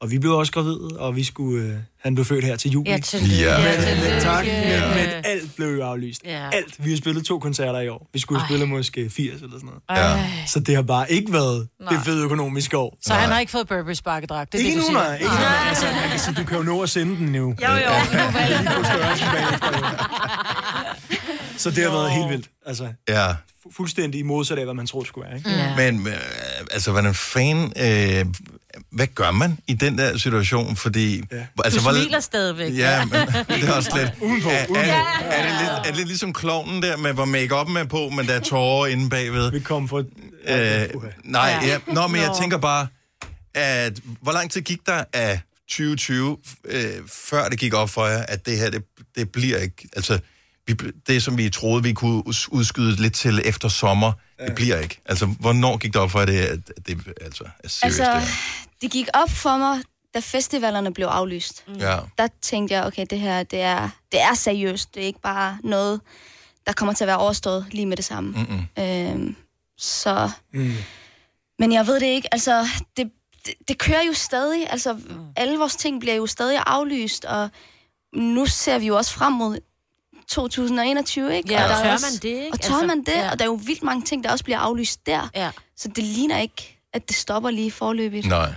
N: Og vi blev også gravide, og vi skulle, øh, han blev født her til juli.
D: Ja, tillykke. Ja. Ja, tillykke.
N: tak.
D: Ja.
N: Men, men alt blev jo aflyst.
D: Ja.
N: Alt. Vi har spillet to koncerter i år. Vi skulle have spillet måske 80 eller sådan noget.
B: Ja.
N: Så det har bare ikke været Nej. det
B: Nej.
N: fede økonomiske år.
B: Så han har ikke fået Burberry sparkedragt. Det er
N: Ikke
B: det, du
N: nu,
B: siger.
N: nej. Ikke nu. Altså, man kan sige, du kan jo nå at sende den nu.
B: Jo, jo.
N: Så det har været helt vildt. Altså,
A: Ja.
N: fu- fuldstændig i modsat af, hvad man troede det skulle være. Ikke?
A: Ja. Men øh, altså, hvordan fanden... Øh, hvad gør man i den der situation? Fordi... Ja. Altså,
X: du
A: hvor-
X: smiler stadigvæk.
A: Ja, men det er også lidt...
N: Udenpå,
A: er, er,
N: udenpå.
A: det, er, det lidt, er det lidt ligesom klovnen der, med, hvor make-up'en er på, men der er tårer inde bagved? Vi
N: kom for...
A: Øh, nej,
D: Ja.
A: ja. Nå, men jeg
D: Nå.
A: tænker bare, at hvor lang tid gik der af 2020, øh, før det gik op for jer, at det her, det, det bliver ikke... Altså, vi, bl- det, som vi troede, vi kunne us- udskyde lidt til efter sommer, ja. det bliver ikke. Altså, hvornår gik det op for jer, det, at at det altså, er seriøst?
Y: altså,
A: Altså...
Y: det gik op for mig, da festivalerne blev aflyst. Mm.
A: Ja.
Y: Der tænkte jeg, okay, det her, det er, det er seriøst. Det er ikke bare noget, der kommer til at være overstået lige med det
A: Mm.
Y: samme.
D: Mm-mm.
Y: Øhm, så,
D: Mm.
Y: men jeg ved det ikke, altså, det, det, det kører jo stadig. Altså, mm. alle vores ting bliver jo stadig aflyst, og nu ser vi jo også frem mod 2021, ikke?
X: Ja,
Y: og der
X: og
Y: er
X: tør
Y: også,
X: man det, ikke?
Y: Og tør
X: Altså,
Y: man det,
X: ja.
Y: og der er jo vildt mange ting, der også bliver aflyst der.
X: Ja.
Y: Så det ligner ikke, at det stopper lige forløbigt.
A: Nej.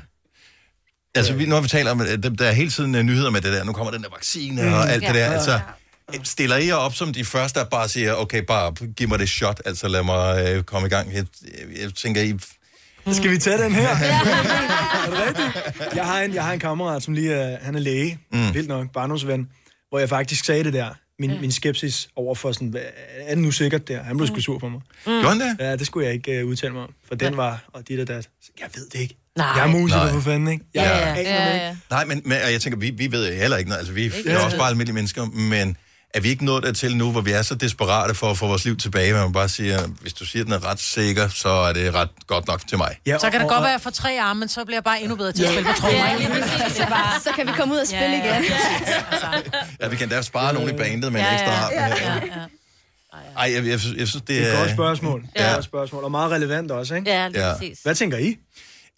A: Altså, vi, nu har vi talt om, at der- der er hele tiden øh, nyheder med det der, nu kommer den der vaccine
Y: Mm.
A: og alt det
Y: Ja.
A: der. Altså, stiller I jer op som de første, der bare siger, okay, bare giv mig det shot, altså lad mig øh, komme i gang. Jeg, jeg, jeg tænker, I...
N: Skal vi tage den her? er det rigtigt? Jeg har en, jeg har en kammerat, som lige er, han er læge, mm. vildt nok, barndomsven, hvor jeg faktisk sagde det der, min, min skepsis over for sådan, hvad, er det nu sikkert der? Han blev sgu sur på mig.
A: Mm. Gjorde han det?
N: Ja, det skulle jeg ikke uh, udtale mig om, for den var, og dit og dat. Jeg ved det ikke.
A: Nej.
N: Jeg er musiker
A: Nej.
N: for fanden, ikke? Jeg
A: Ja.
N: aner det
A: Ja,
N: ikke.
A: Nej, men, men og jeg tænker, vi, vi ved heller ikke noget. Altså, vi
N: Ikke
A: er
N: noget.
A: også bare almindelige mennesker, men er vi ikke nået dertil nu, hvor vi er så desperate for at få vores liv tilbage, hvor man bare siger, hvis du siger, at den er ret sikker, så er det ret godt nok til mig.
N: Ja,
B: Så kan det godt være, at jeg får tre arme, men så bliver jeg bare endnu bedre til at
A: Ja.
B: spille på trommer.
Y: Ja,
B: ikke?
Y: lige præcis.
B: Det er bare-
Y: Så kan vi komme ud og spille
B: Ja, ja.
Y: igen.
A: Ja, vi kan da spare nogen i bandet med en ekstra arm.
Y: ja.
A: Ej, jeg, jeg, synes- jeg synes, det er...
N: Det er et godt spørgsmål. Ja.
A: Ja.
N: Et godt spørgsmål, og meget relevant også, ikke?
B: Ja, lige Ja. præcis.
N: Hvad tænker I?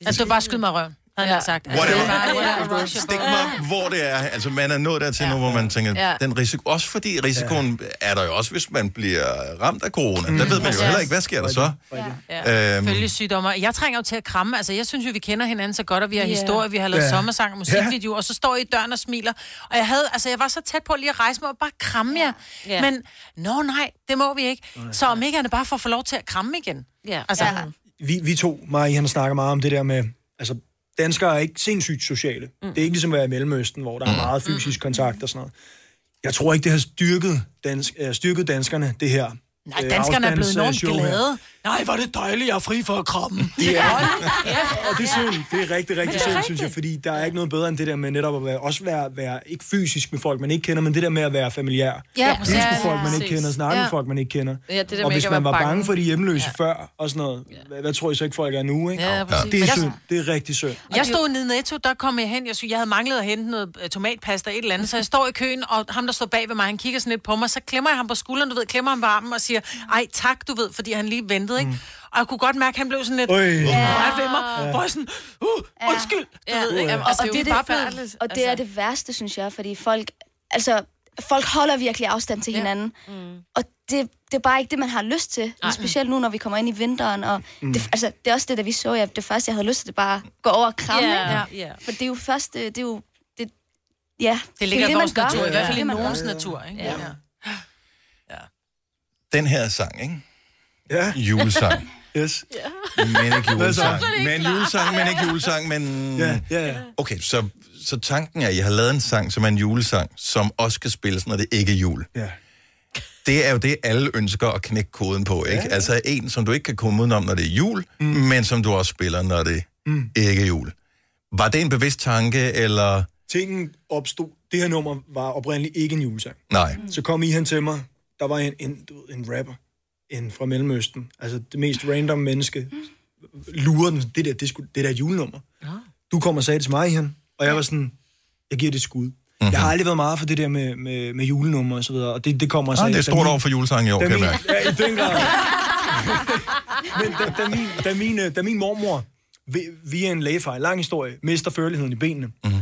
B: Altså, du bare skyd mig i røven, havde jeg sagt. Altså,
A: Whatever.
B: det er bare- whatever.
A: Stik mig, hvor det er. Altså, man er nået dertil nu, hvor man tænker,
B: Ja.
A: den risiko... Også fordi risikoen er der jo også, hvis man bliver ramt af corona.
N: Mm.
A: Der ved man jo
B: Præcis.
A: heller ikke, hvad sker der så?
B: Ja.
A: Øhm.
B: Øhm. Følgesygdommer. Jeg trænger jo til at kramme. Altså, jeg synes jo, vi kender hinanden så godt, og vi har
D: Ja.
B: yeah. historie, vi har lavet
D: Ja.
B: yeah. sommersang og musikvideo, yeah. og så står I i døren og smiler. Og jeg, havde, altså, jeg var så tæt på lige at rejse mig og bare kramme jer.
D: Ja.
B: Men, nå nej, det må vi ikke. Så om ikke andet bare for at få lov til at kramme igen.
X: Ja.
B: Altså,
X: Ja.
N: vi, vi to, mig og I, han har snakket meget om det der med, altså danskere er ikke sindssygt sociale. Mm. Det er ikke ligesom at være i Mellemøsten, hvor der er meget fysisk kontakt og sådan noget. Jeg tror ikke, det har styrket, dansk, øh, styrket danskerne, det her
B: Nej, danskerne er blevet enormt
N: afstandsshow her.
B: glade. Nej, hvor er det dejligt, jeg er fri for krammen.
N: Det er,
B: Ja.
N: og det er synd.
B: Men
N: Det er rigtig,
B: det
N: rigtig
B: er
N: synd,
B: rigtigt.
N: synes jeg, fordi der er ikke noget bedre end det der med netop at være, også være, være ikke fysisk med folk, man ikke kender, men det der med at være familiær.
C: Ja,
N: Hilse
C: ja,
N: på folk, man
C: præcis.
N: ikke kender, snakke
C: Ja.
N: med folk, man ikke kender.
C: Ja, det der med
N: og
C: ikke
N: hvis
C: at
N: man var
C: være
N: bange
C: bange.
N: for de hjemløse før, og sådan noget, hvad, hvad tror I så ikke, folk er nu, ikke?
B: Ja, Ja. præcis.
N: Det er
B: Jeg-
N: synd. Det er rigtig synd.
B: Jeg stod nede i Netto, der kom jeg hen, jeg, synes, jeg havde manglet at hente noget øh, tomatpasta et eller andet, så jeg står i køen, og ham, der står bag ved mig, han kigger sådan lidt på mig, så klemmer jeg ham på skulderen, du ved, klemmer ham på armen og siger, ej tak, du ved, fordi han lige ventede, ikke? Og jeg kunne godt mærke, at han blev sådan lidt,
N: Øj.
B: ja. ved
N: Ja.
B: mig, hvor jeg sådan, uh, undskyld, du
Y: Ja.
B: ved, ikke?
Y: Jamen, og,
B: Altså,
Y: og, det,
B: jo Altså.
Y: er
B: bare
Y: det,
B: blevet-
Y: og det er det værste, synes jeg, fordi folk, altså, folk holder virkelig afstand til hinanden. Ja. Mm. Og det, det er bare ikke det, man har lyst til. Men specielt nu, når vi kommer ind i vinteren. Og
D: Mm.
Y: mm. det, altså, det er også det, der vi så, jeg, det første, jeg havde lyst til, det bare at gå over og kramme.
D: Ja,
Y: ikke?
D: ja.
Y: For det er jo først, øh, det er jo, det, ja,
B: Det ligger
Y: er
B: i
Y: man
B: vores
Y: gør.
B: natur, i hvert fald
Y: Det
B: i
Y: er det, man
B: nogens
Y: gør.
B: natur, ikke?
Y: Ja.
A: Den her sang, ikke?
N: Ja.
A: Julesang.
N: yes.
A: Men ikke
N: Hvad så?
A: julesang. Men julesang, men ikke julesang, men... Ja,
N: ja, ja.
A: Okay, så, så tanken er, at I har lavet en sang, som er en julesang, som også skal spilles, når det ikke er jul.
N: Ja.
A: Det er jo det, alle ønsker at knække koden på, ikke?
N: Ja,
A: Ja, Altså en, som du ikke kan komme udenom, når det er jul, mm. men som du også spiller, når det
N: Mm.
A: mm. ikke er jul. Var det en bevidst tanke, eller...
N: Tingen opstod, det her nummer var oprindeligt ikke en julesang.
A: Nej.
N: Så kom I hen til mig, der var en, en, du ved, en rapper, en fra Mellemøsten, altså det mest random menneske, lurer den, det der, det, skulle, det der julenummer. Du kom og sagde det til mig, han, og jeg var sådan, jeg giver det et skud. Mm-hmm.
A: Mhm.
N: Jeg har aldrig været meget for det der med, med, med julenummer og så videre, og det, det kommer
A: Ah,
N: så...
A: det er
N: da
A: et stort
N: min-
A: år for julesang i år,
N: da
A: kan jeg
N: min-
A: mærke.
N: Ja, i den grad. Men da, da, min, da, min, øh, da min mormor vi- via en lægefejl, lang historie, mister førligheden i benene,
A: Mhm.
N: mm-hmm.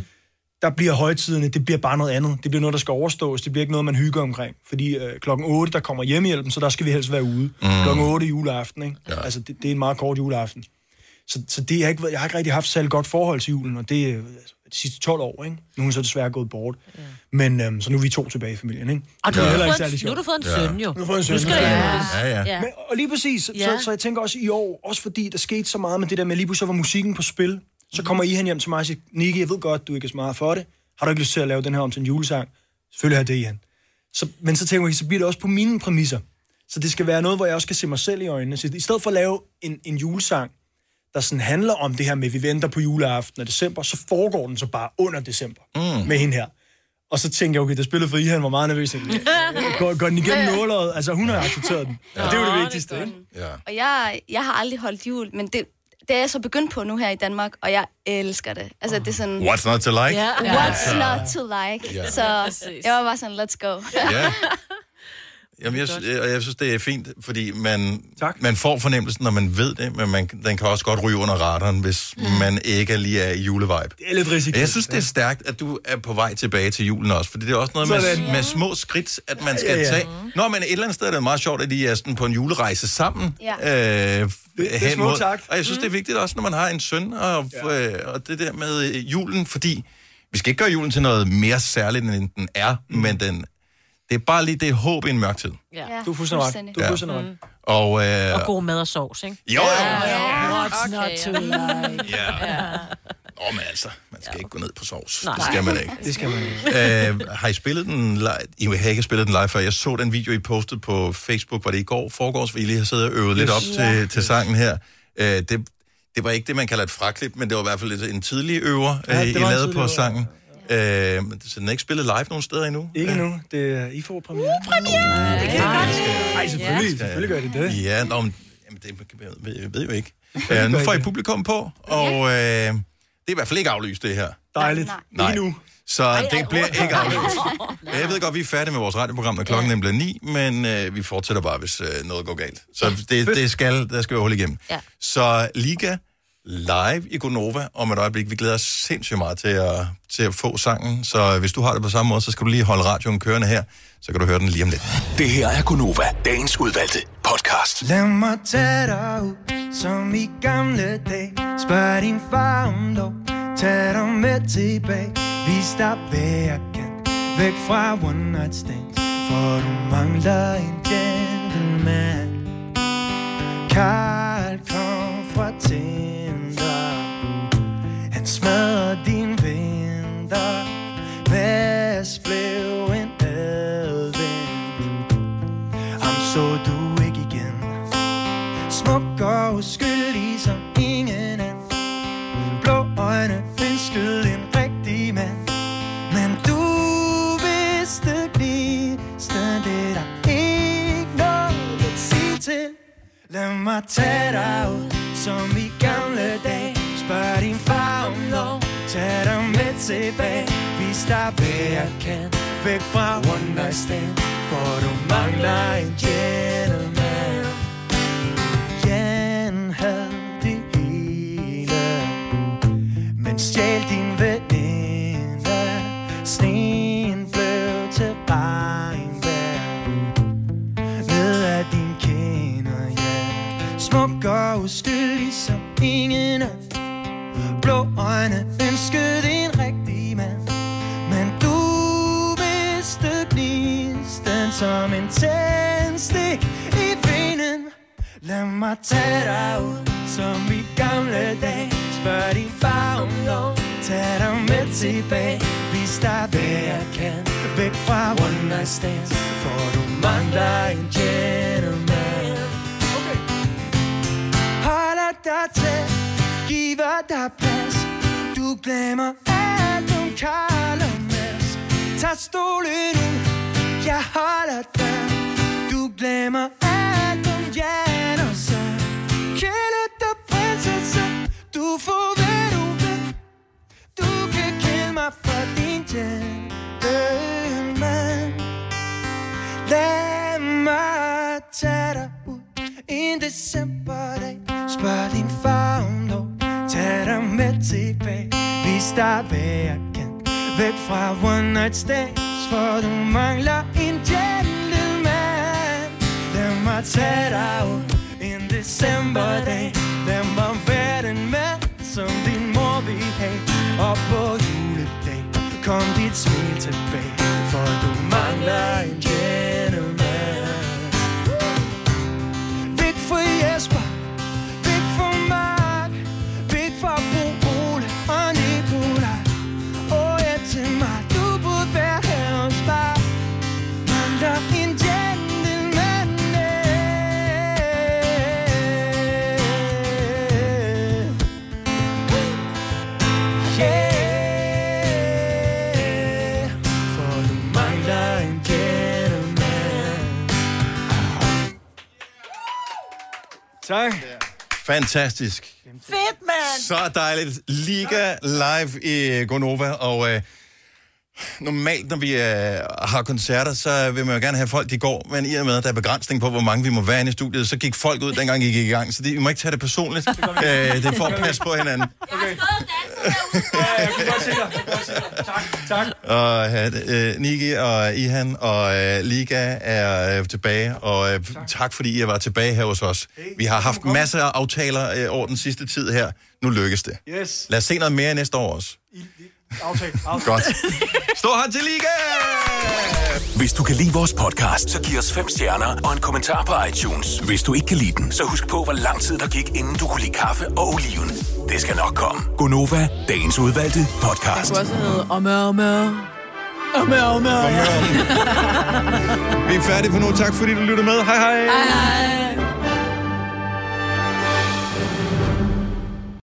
N: der bliver højtiderne, det bliver bare noget andet. Det bliver noget, der skal overstås. Det bliver ikke noget, man hygger omkring. Fordi øh, klokken 8, der kommer hjemmehjælpen, så der skal vi helst være ude. Mm. Klokken 8 juleaften, ikke? Ja. Altså, det, det er en meget kort juleaften. Så, så det har ikke, været- jeg har ikke rigtig haft særlig godt forhold til julen, og det er øh, altså, de sidste 12 år, ikke? Nu er hun så desværre gået bort. Ja. Men øhm, så nu er vi to tilbage i familien, ikke?
D: Og du
N: Det
D: har
N: er
D: fået
N: heller ikke
D: en-
N: særlig sjovt.
D: nu har du fået en søn, jo.
N: Nu har jeg fået en søn.
D: Nu skal det
N: ja.
D: jules. Ja, ja. Ja.
N: Men, og lige præcis, så,
D: Ja.
N: ja. så, så jeg tænker også i år, også fordi der skete så meget med det der med, lige pludselig så var musikken på spil. Så kommer I hen hjem til mig og siger, Nicky, jeg ved godt, du ikke er så meget for det. Har du ikke lyst til at lave den her om til en julesang? Selvfølgelig har jeg det, Ian. Så, men så tænker jeg, så bliver det også på mine præmisser. Så det skal være noget, hvor jeg også kan se mig selv i øjnene. Så i stedet for at lave en, en julesang, der sådan handler om det her med, at vi venter på juleaften og december, så foregår den så bare under december mm. med hende her. Og så tænker jeg, okay, der spillede for I, han var meget nervøs. Jeg tænkte, Går, går den igennem nåløjet? Altså, hun har accepteret den. Og det er jo det vigtigste, ikke?
A: Ja.
Y: Og jeg, jeg har aldrig holdt jul, men det, det er jeg så begyndt på nu her i Danmark, og jeg elsker det. Altså, det er sådan...
A: What's not to like?
Y: Ja,
A: Ja.
Y: What's
A: Ja.
Y: not to like?
A: Ja.
Y: Så jeg var bare sådan, let's go.
A: Ja. Jamen, jeg, sy- og jeg synes, det er fint, fordi man, man får fornemmelsen, når man ved det, men man, den kan også godt ryge under radaren, hvis mm. man ikke lige er i julevibe.
N: Det er lidt risikabelt.
A: Jeg synes, det er stærkt, at du er på vej tilbage til julen også, for det er også noget
N: Sådan.
A: med, med små skridt, at man skal
N: Ja,
A: ja,
N: ja.
A: ja. tage. Nå, men et eller andet sted er det meget sjovt, at I er sådan på en julerejse sammen.
Y: Ja.
A: Øh,
N: det er
A: hen
N: smukt
A: mod-
N: sagt.
A: Og jeg synes, det er vigtigt også, når man har en søn, og, ja. øh, og det der med øh, julen, fordi vi skal ikke gøre julen til noget mere særligt, end den er, mm. men den, det er bare lige det håb i en mørk tid.
D: Ja.
N: Du er fuldstændig ret. Du er
A: Ja.
N: fuldstændig ret.
A: Og, øh,
D: Og god mad og sovs, ikke?
A: Jo, jo, jo.
D: What's not to like?
A: Ja. Åh, men altså, man skal ikke gå ned på sovs.
D: Nej.
A: Det skal man ikke.
N: Det skal man
A: Øh, har I spillet den live? I har ikke spillet den live før. Jeg så den video, I postede på Facebook, var det i går, foregårs, hvor I lige har siddet og øvet yes. lidt op
N: Yes.
A: til, til sangen her. Øh, det, det var ikke det, man kalder et fraklip, men det var i hvert fald lidt en tidlig øver,
N: Ja,
A: ja,
N: det
A: I
N: var en
A: lavede
N: tidlig
A: på
N: øver.
A: sangen. Øh, så den er ikke spillet live nogen steder endnu?
N: Ikke nu. Det er, I får premiere. Premiere! Det kan jeg godt. Ej, selvfølgelig. Selvfølgelig gør det det.
A: Ja, nå, men, jamen, det jeg ved, jeg ved jo ikke. Øh, nu får I publikum på, og øh, det er i hvert fald ikke aflyst, det her.
N: Dejligt.
A: Nej.
N: Ikke nu.
A: Så det bliver ikke aflyst. Jeg ved godt, vi er færdige med vores radioprogram, når klokken ja. bliver ni, men øh, vi fortsætter bare, hvis øh, noget går galt. Så det, det skal, der skal vi holde igennem.
D: Ja.
A: Så Liga live i Gonova om et øjeblik. Vi glæder os sindssygt meget til at, til at få sangen, så hvis du har det på samme måde, så skal du lige holde radioen kørende her, så kan du høre den lige om lidt.
R: Det her er Gonova, dagens udvalgte podcast.
O: Lad mig tage dig ud, som i gamle dage. Spørg din far om lov, tag dig med tilbage. Vis dig, hvad jeg kan, væk fra one night stands. For du mangler en gentleman. Karl kom fra Tinder. Han smadrer din vinter. Mads blev en advent. Ham så du Smuk og uskyldig som ingen anden Blå øjne ønskede en rigtig mand Men du vidste gnisten Det er der ikke noget at sige til Lad mig tage dig ud Som i gamle dage Spørg din far om lov Tag dig med tilbage Vis dig hvad jeg kan Væk fra one night stand For du mangler en gentleman Jan havde det hele Men stjæl din veninde Sneen blev til regnvejr Ned ad din kinder, ja Smuk og uskyldig som ingen af blå øjne ønskede en rigtig mand Men du vidste gnisten som en tændstik i venen Lad mig tage dig ud som i gamle dage Spørg din far om lov Tag dig med tilbage Vis dig hvad jeg kan Væk fra one night stands For du mangler en gentleman holder dig tæt, giver dig plads. Du glemmer alt om Karl og Mads. Tag stolen ud, jeg holder dig. Du glemmer alt om Jan og Søren. Kælde dig prinsesse, du får hvad du vil. Du kan kende mig for din gentleman. Lad mig tage dig ud en decemberdag Spørg din far om lov Tag dig med tilbage Vis dig hvad jeg kan Væk fra one night stands For du mangler en gentleman Lad mig tage dig ud En decemberdag Lad mig være den mand Som din mor vil have Og på juledag Kom dit smil tilbage For du mangler en gentleman Væk fra Jesper, væk fra Mark, væk fra Bo Ole og Nicola. Og ja til mig, du burde være her hos mig. Mangler en gentleman. Yeah, for du mangler en gentleman.
N: Tak.
A: Fantastisk.
B: Fedt, mand!
A: Så dejligt. Liga live i Gonova, og øh, normalt, når vi øh, har koncerter, så vil man jo gerne have folk, de går, men i og med, at der er begrænsning på, hvor mange vi må være inde i studiet, så gik folk ud, dengang I gik i gang, så det, vi må ikke tage det personligt. øh, det er for at passe på hinanden.
N: Tak.
A: Og øh, Niki og Ihan og øh, Liga er øh, tilbage, og øh, tak. tak fordi I var tilbage her hos os. Vi har haft masser af aftaler øh, over den sidste tid her. Nu lykkes det.
N: Yes.
A: Lad os se noget mere næste år også.
N: Aftale. Aftale.
A: Godt. Stor hånd til Liga!
P: Hvis du kan lide vores podcast, så giv os fem stjerner og en kommentar på iTunes. Hvis du ikke kan lide den, så husk på, hvor lang tid der gik, inden du kunne lide kaffe og oliven. Det skal nok komme.
N: Gonova,
P: Dagens udvalgte podcast.
C: kunne også hedde Omme, omme. Omme, omme.
A: Vi er færdige for nu. Tak fordi du lyttede med. Hej hej!
C: Hej, hej.